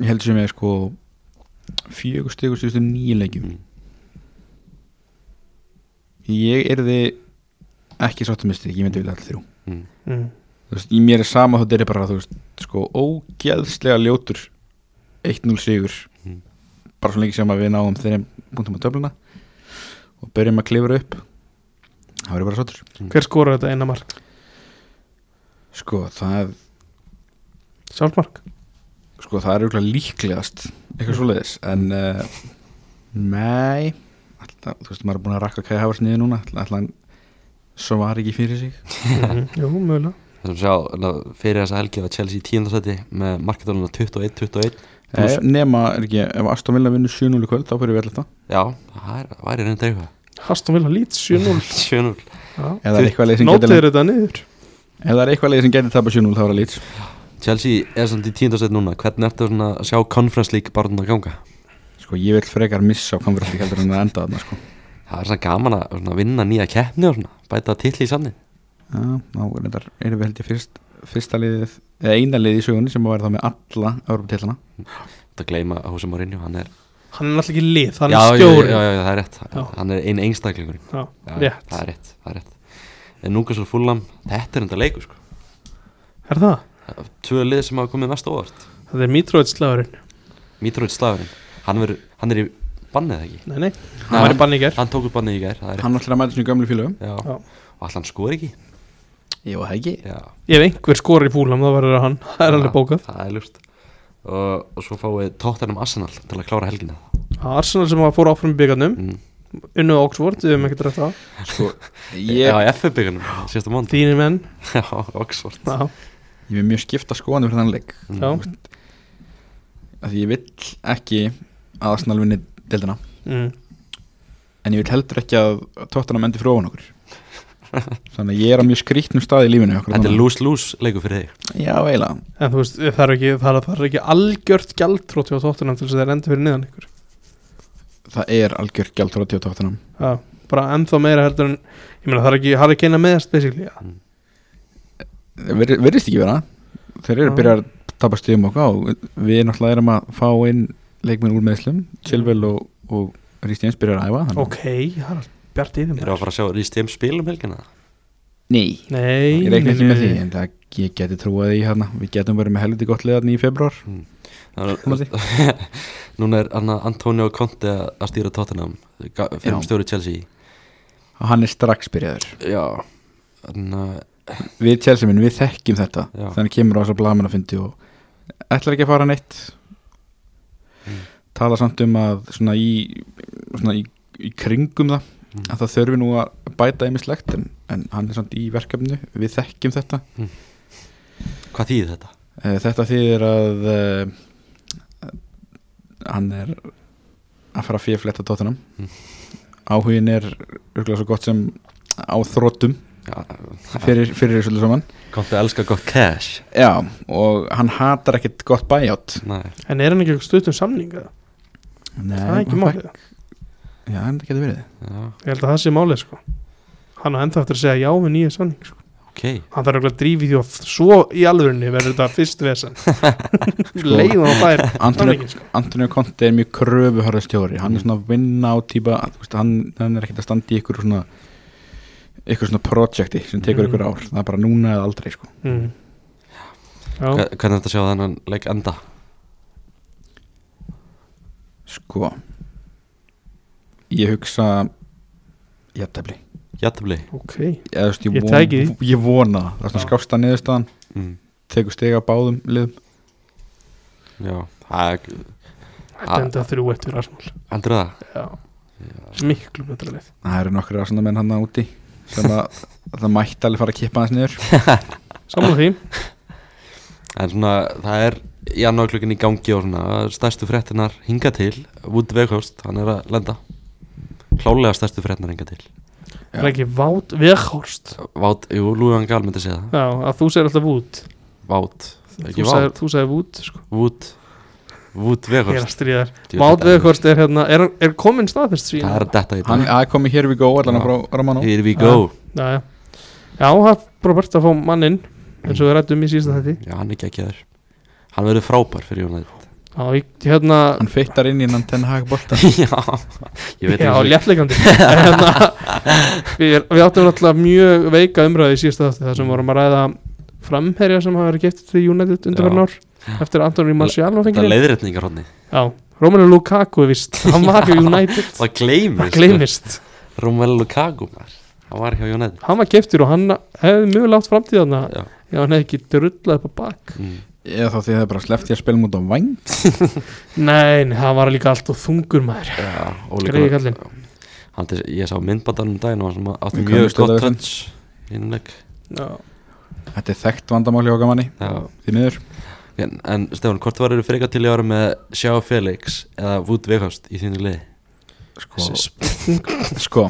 Speaker 3: Ég heldur sem ég sko fjögur stigur síðustu nýju leikjum
Speaker 1: Mm.
Speaker 3: Ég erði ekki sáttum með stig, ég myndi vilja allir þrjú
Speaker 1: mm.
Speaker 2: mm.
Speaker 3: Þú veist, í mér er sama þótt er bara, þú veist, sko ógeðslega ljótur 1-0 sigur
Speaker 1: Mm.
Speaker 3: bara svo lengi sem að við náum þeirra punktum á töfluna og börjum að klifra upp það verður bara sáttur
Speaker 2: Hver skorar þetta eina mark?
Speaker 3: sko, það,
Speaker 2: Sjálfmark?
Speaker 3: sko, það er auðvitað líklegast eitthvað svoleiðis en uh, nei alltaf, þú veist, maður er búin að rakka kæði hafars niður núna alltaf, alltaf svo var ekki fyrir sig
Speaker 2: Mhm, Jú, mögulega
Speaker 1: þessum sjá ná, fyrir þessa helgi var Chelsea í tíundarsæti með marketóluna 21-21
Speaker 3: Plus, nema, er ekki, ef Aston Villa vinnur 7-0 í kvöld, þá fyrir við alltaf
Speaker 1: já, það er, væri reynda eitthvað
Speaker 2: Aston Villa lít 7-0
Speaker 1: 7-0
Speaker 2: Já.
Speaker 3: eða er eitthvað leið sem getur
Speaker 2: Nótið þetta niður
Speaker 3: ef það er eitthvað leið sem getur tapa 7-0 þá er það lít
Speaker 1: Chelsea er samt í tíundarsæti núna hvernig ertu svona að sjá Conference League bara að ganga
Speaker 3: Sko ég vil frekar missa á konversi heldur en að enda þarna sko
Speaker 1: það er svona gaman að svona, vinna nýja keppni og svona bæta titli í samni
Speaker 3: Já, þá er þetta, erum við held ég fyrst, fyrsta liðið, eða eina liðið í sögunni sem að væri þá með alla Europatillana
Speaker 1: þetta gleyma að Húsi Mourinho hann er,
Speaker 2: Hann er náttúrulega ekki lið, hann
Speaker 1: já,
Speaker 2: er
Speaker 1: já, já,
Speaker 2: stjóri
Speaker 1: já, já, það er rétt
Speaker 2: Já.
Speaker 1: hann er einn einstaklingur já,
Speaker 2: Rétt.
Speaker 1: það er rétt, það er rétt en núka svo fullam, þetta er enda leiku sko.
Speaker 2: Er það?
Speaker 1: Það eru tvö lið sem hafa komið mest á óvart
Speaker 2: Það er Mitrovic slagurinn
Speaker 1: Mitrovic slagurinn, hann, verður- hann er í bannið eða ekki
Speaker 2: Nei, nei, hann var í banni í gær
Speaker 1: hann tók upp bannið í gær, það er rétt
Speaker 3: Hann ætlar að mæta sinni gömlu félögum
Speaker 1: Já.
Speaker 2: Já.
Speaker 1: og allan skor ekki
Speaker 3: Æ, Jó, það ekki
Speaker 1: já,
Speaker 2: Ef einhver skorar í fúlam þá verður það hann Það er alveg bókað
Speaker 1: það er ljúst og, og svo fáið tóttanum Arsenal til að klára helgina
Speaker 2: Arsenal sem var fór áfram í byggarnum
Speaker 1: mm.
Speaker 2: Unnuð Oxford, við hefum ekkert rætt það
Speaker 3: Sko, ég,
Speaker 1: já, í FF-byggunum, síðasta mánd
Speaker 2: Þínir menn
Speaker 1: já, Oxford
Speaker 2: Já,
Speaker 3: ég er mjög skipta skoðan fyrir þann leik
Speaker 1: Mm.
Speaker 2: já
Speaker 3: af Því ég vill ekki að Arsenal vinni deildina
Speaker 2: mm.
Speaker 3: En ég vil heldur ekki að tóttanum endi frá ofan okkur Þannig að ég er á mjög skrýtnum stað í lífinu akkurat
Speaker 1: þetta er
Speaker 3: núna.
Speaker 1: lose-lose leiku fyrir þig
Speaker 3: Já, eiginlega
Speaker 2: En þú veist, það er ekki, það er, það er ekki algjört gjaldtróti á tóttunum til þess að það er enda fyrir niðan ykkur
Speaker 3: Það er algjör gjald frá tóttanum
Speaker 2: Já, bara ennþá meira heldur en Ég meina það er ekki, það er ekki eina meðast basically já.
Speaker 3: Ver, Verðist ekki vera Þeir eru
Speaker 2: Já.
Speaker 3: að byrja að tapa stíðum okkar og við náttúrulega erum að fá inn leikmenn úr meðslum Chilwell og, og Rís James byrjar að æfa þannig að-
Speaker 2: Ok, það er allt bjart í þeim
Speaker 1: eru að fara að sjá Rís Tém spil um helgina
Speaker 3: Nei,
Speaker 2: Nei,
Speaker 3: ég reikna ekki
Speaker 2: nei,
Speaker 3: með því
Speaker 2: nei.
Speaker 3: en það, ég geti trúið í hérna við getum verið með helviti gott liðan í februar
Speaker 1: Þannig að- núna er Anna Antonio Conte að stýra tóttanum fyrir
Speaker 3: Já.
Speaker 1: stjóri Chelsea
Speaker 3: og hann er strax byrjaður
Speaker 1: já, þannig að
Speaker 3: við Chelsea minn, við þekkjum þetta
Speaker 1: Já.
Speaker 3: þannig kemur á þess að blamin að fyndi og ætlar ekki að fara neitt
Speaker 1: Mm.
Speaker 3: tala samt um að svona í, svona í, í kringum það
Speaker 1: Mm.
Speaker 3: að það þurfi nú að bæta einmislegt en, en hann er samt í verkefnu við þekkjum þetta
Speaker 1: hvað þýðir þetta?
Speaker 3: Eh, Þetta þýðir að uh, hann er að fara að fífletta tóttunum
Speaker 1: Mm.
Speaker 3: áhugin er örgulega svo gott sem á þróttum
Speaker 1: Já,
Speaker 3: fyrir, fyrir þessu öllu saman
Speaker 1: Conte elskar gott cash
Speaker 3: Já, og hann hatar ekkit gott bæjátt
Speaker 1: Nei.
Speaker 2: En er hann ekki stuttum samninga?
Speaker 3: Nei,
Speaker 2: það er ekki
Speaker 3: hann
Speaker 2: málið
Speaker 3: fekk- Já, en það getur verið
Speaker 1: Já,
Speaker 2: Ég held að það sé málið sko Hann á ennþá eftir að segja já við nýja samning sko.
Speaker 1: ok
Speaker 2: Hann þarf örugglega að drífa í því að svo í alvörunni verður þetta fyrst vesen Leiðan og fær
Speaker 3: Antonio,
Speaker 2: samningin sko.
Speaker 3: Antonio Conte er mjög kröfuharða stjóri hann er
Speaker 1: Mm.
Speaker 3: svona vinna á típa að, þú veist, hann, hann er ekkit að standa í ykkur svona ykkur svona projekti sem tekur
Speaker 2: Mm.
Speaker 3: ykkur ár það er bara núna eða aldrei sko.
Speaker 2: mm. Já,
Speaker 1: Hva- hvernig er þetta að sjá þennan leik enda?
Speaker 3: Sko Ég hugsa Jættabli
Speaker 1: Jættabli
Speaker 2: ok
Speaker 3: Ég, veist, ég,
Speaker 2: Ég
Speaker 3: von,
Speaker 2: tæki því.
Speaker 3: ég vona það Það er svona
Speaker 2: Já.
Speaker 3: skásta niðurstaðan
Speaker 1: mm.
Speaker 3: Tekur stiga á báðum liðum
Speaker 1: Já, það er
Speaker 2: Þetta er enda þrjú eftir Arsenal
Speaker 1: Heldur það?
Speaker 2: Já, miklu betra leið
Speaker 3: Það eru nokkri aðsanda menn hann úti sem að það mætti alveg fara að kippa hans niður
Speaker 2: Saman því
Speaker 1: En svona, það er í annar klukkin í gangi og svona Stærstu fréttinar hinga til Wood Weghorst, hann er að lenda Klálega stærstu fréttinar hinga til
Speaker 2: Það er ekki Vát Veghorst
Speaker 1: Vát, jú, Lúiðan Gal myndi segja það
Speaker 2: Já, að þú segir alltaf Vút
Speaker 1: Vát,
Speaker 2: Þú
Speaker 1: ekki Vát,
Speaker 2: segir, þú segir Vút sko.
Speaker 1: Wood Wood
Speaker 2: Ég er
Speaker 1: Weghorst
Speaker 2: að stríða þér
Speaker 1: Djöfull,
Speaker 2: Vát
Speaker 1: þetta er-
Speaker 2: Veghorst er hérna Er, hann- er komin staðfest svín
Speaker 1: Það er að detta í
Speaker 3: Hann
Speaker 1: dag
Speaker 3: er komið hér við góð allan að frá Romano
Speaker 1: Here we go
Speaker 2: Já, já Já, það er bara bært að fá manninn eins og við rættum í síðasta þetta
Speaker 1: Já, hann er geggjaður Hann verður frábær fyrir Jónætt
Speaker 2: Já, ég, hérna
Speaker 3: Hann feittar inn í hann ten hag bolta
Speaker 1: Já, ég veit
Speaker 2: Já,
Speaker 1: ekki-
Speaker 2: léttleikandi En hérna, við, við áttum náttúrulega mjög veika umræði í síðasta þetta
Speaker 1: Mm.
Speaker 2: þar sem vorum að ræða framherja sem hafa verið gett til United undanverðin
Speaker 1: Já.
Speaker 2: ár eftir Antoni Marcial var
Speaker 1: Það er
Speaker 2: fengið inn.
Speaker 1: leiðrétningar honni
Speaker 2: Já, Romelu Lukaku er víst hann var hjá United
Speaker 1: Það gleymist
Speaker 2: það gleymist
Speaker 1: Romelu Lukaku maður. Hann var hjá Jónætt
Speaker 2: hann var geftur og hann hefði mjög látt framtíð hann
Speaker 1: Já.
Speaker 2: já, hann hefði ekki drullað upp á bak
Speaker 1: mm.
Speaker 3: Eða þá því það er bara sleppt ég að spila múti á væng
Speaker 2: nei, nei, hann var líka allt og þungur maður
Speaker 1: Já, Óli
Speaker 2: Greiði
Speaker 1: Gunnar-
Speaker 2: kallinn.
Speaker 1: Hann til- Ég sá myndbandanum daginn og hann átti
Speaker 3: Við
Speaker 1: mjög
Speaker 3: könnumst
Speaker 1: gott
Speaker 3: auðvitað við
Speaker 1: touch í einum leik.
Speaker 2: já.
Speaker 3: Þetta er þekkt vandamáli okkar manni
Speaker 1: Já.
Speaker 3: Því miður
Speaker 1: En, en Stefán, hvort var eru frekar til í ára með Sjá Felix eða Wood Weghorst í þínu liði?
Speaker 3: Sko,
Speaker 2: Þessi
Speaker 3: sko.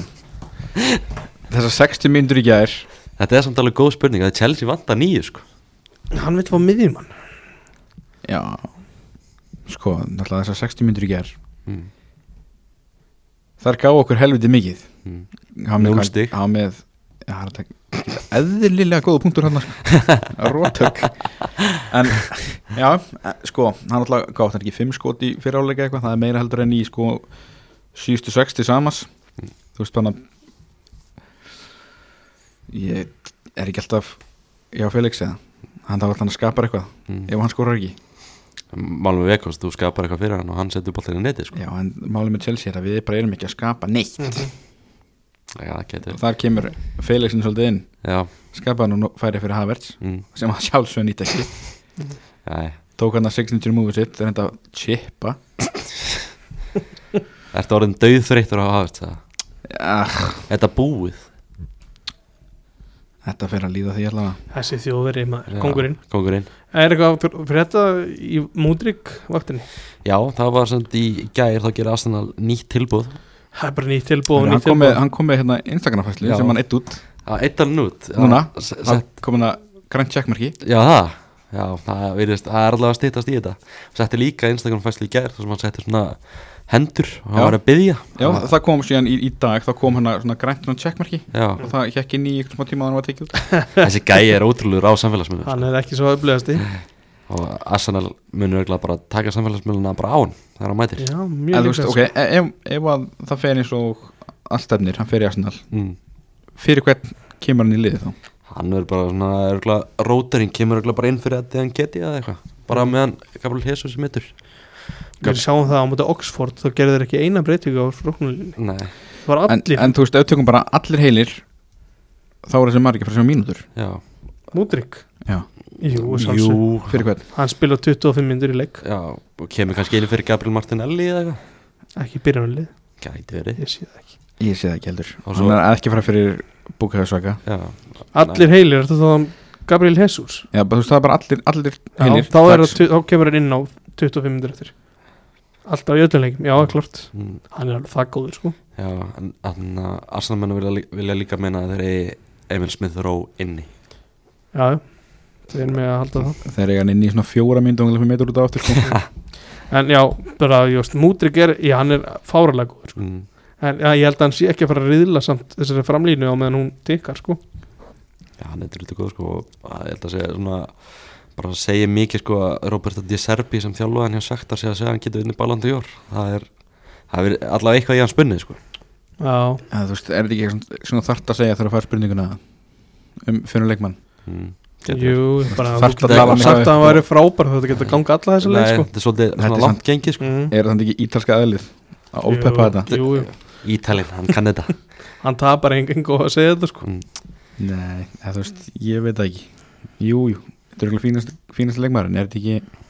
Speaker 3: Þessar 60 myndur í gær
Speaker 1: Þetta er samt alveg góð spurning að Chelsea vantar nýju sko
Speaker 2: hann veit hvað miðjum hann
Speaker 3: Já Sko, náttúrulega þessar 60 myndur í ger
Speaker 1: mm.
Speaker 3: Þar gá okkur helviti mikið
Speaker 1: Mm.
Speaker 3: Hann
Speaker 1: Núll
Speaker 3: með,
Speaker 1: stig.
Speaker 3: hann með já, það er ekki- eðlilega góða punktur hann Rótök En, já, eh, sko Hann náttúrulega gátt hann ekki 5 skot í fyriráleika eitthvað Það er meira heldur en í sko 760 samans
Speaker 1: Mm.
Speaker 3: Þú veist þannig að Ég er ekki alltaf Já, Felix eða Hann þarf alltaf að skapa eitthvað
Speaker 1: mm.
Speaker 3: Ef hann skorar ekki
Speaker 1: Málum við Weghorst, þú skapar eitthvað fyrir hann og hann setur boltinn í neti sko
Speaker 3: Já, en málið með Chelsea Mm, er að við bara erum ekki að skapa neitt
Speaker 1: Já, það getur
Speaker 3: og þar kemur Felixin svolítið inn
Speaker 1: Já,
Speaker 3: skapaði hann færi fyrir Havertz
Speaker 1: mm,
Speaker 3: sem að sjálfsögn nýta ekki
Speaker 1: já, já.
Speaker 3: tók hann að 60 múið sitt það er enda að chippa
Speaker 1: Ertu orðin dauðþreyttur á Havert það?
Speaker 3: ah,
Speaker 1: Þetta búið
Speaker 3: þetta fer að líða því allavega
Speaker 2: Þessi þjóðveri maður,
Speaker 1: Já,
Speaker 2: kongurinn
Speaker 1: Kongurinn
Speaker 2: Er eitthvað fyr- fyrir þetta í Múdrik vaktinni?
Speaker 1: Já, það var samt í gær þá gerir Arsenal nýtt tilbúð
Speaker 2: Það er bara nýtt tilbúð og
Speaker 3: hann
Speaker 2: nýtt
Speaker 3: kom, með,
Speaker 2: tilbúð
Speaker 3: hann kom með hérna Instagram-fæslu
Speaker 1: Já.
Speaker 3: sem hann eitt út
Speaker 1: að eittan út Já,
Speaker 3: núna,
Speaker 1: s-
Speaker 3: hann
Speaker 1: sett-
Speaker 3: kom hann að grænt checkmarki
Speaker 1: Já, það Já, það, virðist, það er allavega að stýttast í þetta Setti líka Instagram fæsli í gær þar sem hann setti svona hendur og hann
Speaker 3: Já.
Speaker 1: var að byggja
Speaker 3: já, það kom síðan í, í dag þá kom hann að svona grænt svona checkmarki
Speaker 1: Já,
Speaker 3: og það hekk inn í ykkur smá tíma að hann var tekið út
Speaker 1: þessi gæi er ótrúlegur á samfélagsmiðlum
Speaker 2: Hann hefði ekki svo öflugasti
Speaker 1: og Arsenal munur örugglega bara taka samfélagsmiðluna bara á hann þegar hann mætir
Speaker 2: Já,
Speaker 3: en
Speaker 2: mjög
Speaker 3: þú veist,
Speaker 2: líka
Speaker 3: ok, e- ef, ef að það fer eins og alltefnir, hann fer í Arsenal
Speaker 1: mm.
Speaker 3: fyrir hvern kemur hann í liðið þá
Speaker 1: Hann verður bara svona örgulega róturinn kemur örgulega bara inn fyrir þetta þegar hann geti eða eitthvað bara meðan Gabriel Jesus er mittur
Speaker 2: Við sjáum það á múti Oxford þá gerðu þeir ekki eina breytingu á rúknulinni
Speaker 1: Nei,
Speaker 2: Það var
Speaker 3: en,
Speaker 2: allir
Speaker 3: en þú veist, ef við tökum bara allir heilir þá er þessi margir fyrir sem mínútur
Speaker 1: já
Speaker 2: Múdrik
Speaker 3: já,
Speaker 2: Jú, sjálfsög
Speaker 3: fyrir hvern
Speaker 2: Hann spila 25 myndur í leik
Speaker 1: Já, og kemur kannski inn fyrir Gabriel Martinelli eða eitthvað
Speaker 2: Ekki byrjanlið,
Speaker 1: Gæti verið
Speaker 2: ég sé það ekki
Speaker 3: ég sé það ekki heldur
Speaker 1: Og svo-
Speaker 3: hann er ekki að fara fyrir búkaðsvaka
Speaker 1: Já,
Speaker 2: Allir heilir, þetta þá Gabriel Jesus
Speaker 3: já, bara, þú veist, það er bara allir, allir
Speaker 2: Já,
Speaker 3: heilir
Speaker 2: þá, er
Speaker 3: Strax.
Speaker 2: það, þá kemur hann inn á 25 myndur eftir Alltaf í öllum leikum, já, klart
Speaker 1: mm,
Speaker 2: Hann er alveg það góður, sko
Speaker 1: já en þannig að Arsenal menna vilja, lí- vilja líka meina að þeir eru Emil Smith Rowe inni
Speaker 2: Já, við erum með að halda það
Speaker 3: þegar ég hann inn í svona fjóra myndu og hann meitur út á aftur sko.
Speaker 2: En já, bara, just, Múdrik er, já, hann er fáralega góður sko.
Speaker 1: mm,
Speaker 2: En já, ég held að hann sé ekki að fara að riðla samt þessari framlínu á meðan hún tikkar, sko
Speaker 1: Já, hann er drullið góð sko og að- ég held að segja svona bara að segja mikið sko að Roberto Di Serbi sem þjálfaðan hjá Sektar sé að segja að hann getur unni balandi í ár það er, það er allavega eitthvað í hans bunni sko
Speaker 2: Já,
Speaker 3: Já, þú veist, er þetta ekki svona, svona þart að segja þegar að fara spurninguna um fyrir leikmann
Speaker 1: mm, getur verið.
Speaker 2: jú, bara
Speaker 3: Þarft
Speaker 2: þú
Speaker 3: að
Speaker 2: getur
Speaker 1: tala
Speaker 2: ekki
Speaker 1: meira
Speaker 2: sagt
Speaker 3: upp.
Speaker 2: að hann væri frábær þetta getur að ganga alla þessa leik,
Speaker 1: Nei,
Speaker 2: sko
Speaker 1: þetta er svolítið
Speaker 3: Þetta er
Speaker 1: svona
Speaker 3: samt-
Speaker 1: langt gengið sko
Speaker 2: mm.
Speaker 3: er það ekki ítalska eðlið að ofpeppa þetta
Speaker 2: Jú, jú,
Speaker 1: Ítalinn, hann kann þetta
Speaker 2: hann tapar enginn góð að segja þetta, sko
Speaker 1: mm,
Speaker 3: nei, eða, þú veist, ég veit það ekki jú, jú, þetta er eitthvað fínast, fínast leikmann en er þetta ekki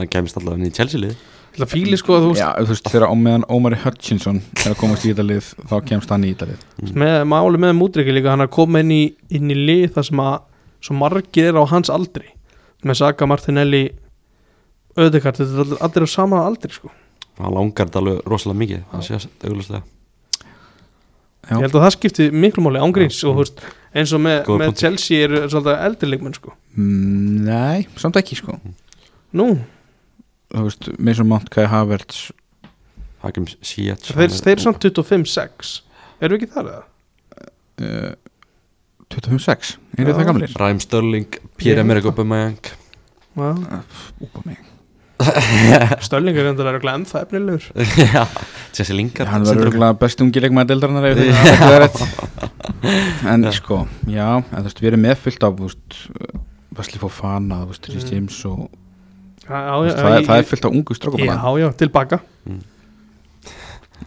Speaker 1: Hann kemist allavega inn í Chelsea lið
Speaker 2: Það fíli, sko, að þú
Speaker 3: Já, þú veist, þegar á meðan Ómari Hutchinson er að komast í þetta lið, þá kemst hann í þetta lið
Speaker 2: veist með, Máli með Múdrik er líka hann að koma inn í, inn í lið þar sem að svo margir er á hans aldri með Saga Martinelli Ödekart, þetta er allir- allir á sama aldri, sko
Speaker 1: Hann langar þetta alveg rosalega mikið Það sé auðvitað
Speaker 3: Já.
Speaker 2: Ég held að það skipti miklu máli ángríns og þú veist, eins og með,
Speaker 1: Góður
Speaker 2: með
Speaker 1: punktur.
Speaker 2: Chelsea eru svolítið eldirleikmenn sko.
Speaker 3: mm, Nei, samt ekki, sko
Speaker 2: Nú,
Speaker 3: Þú veist, Mason Mount, Kai Havertz
Speaker 1: Hakim Ziyech
Speaker 2: þeir, þeir samt 25-6 Erum við ekki þar eða?
Speaker 3: uh, 25-6, eru
Speaker 2: Já.
Speaker 3: það gamlir?
Speaker 1: Ræm Störling, Pierre
Speaker 2: Ég held
Speaker 1: Emerick
Speaker 2: það.
Speaker 1: Aubameyang
Speaker 2: Já,
Speaker 3: Úpa mig
Speaker 2: Stöllingar endur er glæm það efnilegur
Speaker 1: Já, Jesse Lingard
Speaker 3: Hann
Speaker 1: syndrom.
Speaker 3: verður örgulega best ungi leikmaður deildarinnar ef þetta er rétt En sko, já, en þú veist, við erum meðfyllt af, þú veist Vesli Fofana, þú veist, Rhys
Speaker 2: Mm.
Speaker 3: James og
Speaker 2: Já, já, já,
Speaker 3: þú veist, það, er-
Speaker 2: ég-
Speaker 3: það er fyllt af ungu strókum
Speaker 2: Já, já, tilbaka
Speaker 1: Mm.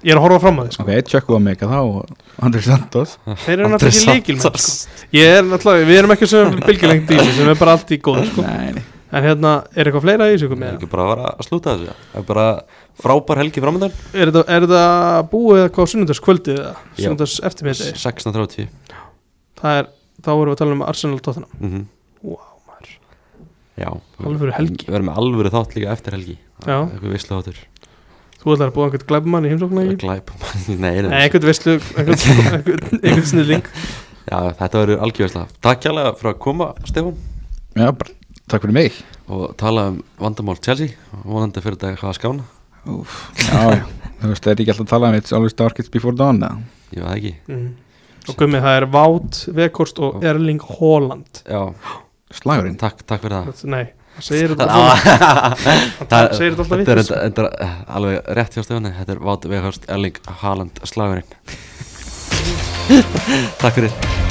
Speaker 2: Ég er að horfa fram að þið sko.
Speaker 3: Ok, tjökkum við að meika þá og Andri Santos
Speaker 2: Þeir eru
Speaker 1: Andrés
Speaker 2: náttúrulega ekki leikil sko.
Speaker 1: Santos.
Speaker 2: Ég er náttúrulega, við erum ekki sem bylgjulengt í þessu sem er bara allt í góð sko.
Speaker 3: Nei, nei
Speaker 2: En hérna, er eitthvað fleira í þessu
Speaker 1: Það er
Speaker 2: með?
Speaker 1: ekki bara að vera að slúta þessu Það er bara frábær helgi framöndan
Speaker 2: Er þetta- er þetta búið eða hvað sunnundags kvöldið eða
Speaker 1: Já.
Speaker 2: sunnundags eftirmiðdegi?
Speaker 1: 16.30
Speaker 2: Það er, þá erum við að tala um Arsenal Tottenham
Speaker 1: mm -hmm.
Speaker 2: Vá,
Speaker 1: Já
Speaker 2: Alvöru helgi.
Speaker 1: Við verðum með alvöru þátt líka eftir helgi
Speaker 2: Já.
Speaker 1: Eitthvað veislu þáttur
Speaker 2: Þú ætlar að búa einhvern glæbumann í heimsóknu ekki?
Speaker 1: Glæp Nei, nei,
Speaker 2: Nei,
Speaker 1: nei.
Speaker 2: einhvern veistlu, einhvern, einhvern, einhvern snilling
Speaker 1: Já, þetta verður algjörveisla Takk kjærlega fyrir að koma, Stefán
Speaker 3: Já, bara, takk fyrir mig
Speaker 1: Og tala um vandamál Chelsea Vonandi fyrir þetta eitthvað að skána
Speaker 3: Úf, já, já. þú veist, það er ekki alltaf að tala um It's always darkest before dawn eða?
Speaker 1: Ég veit það ekki
Speaker 2: mm. Og gummið, það er Vát, Vekhorst og Erling Haaland
Speaker 1: Já,
Speaker 3: Slagurinn
Speaker 1: takk, takk fyrir það
Speaker 2: Nei, það segir þetta svona.
Speaker 1: Það
Speaker 2: segir þetta alltaf
Speaker 1: þetta er
Speaker 2: vitlaust.
Speaker 1: enda- enda- eh, alveg rétt hjá Stefáni Þetta er Vát Veghorst Erling Haaland slagurinn Takk fyrir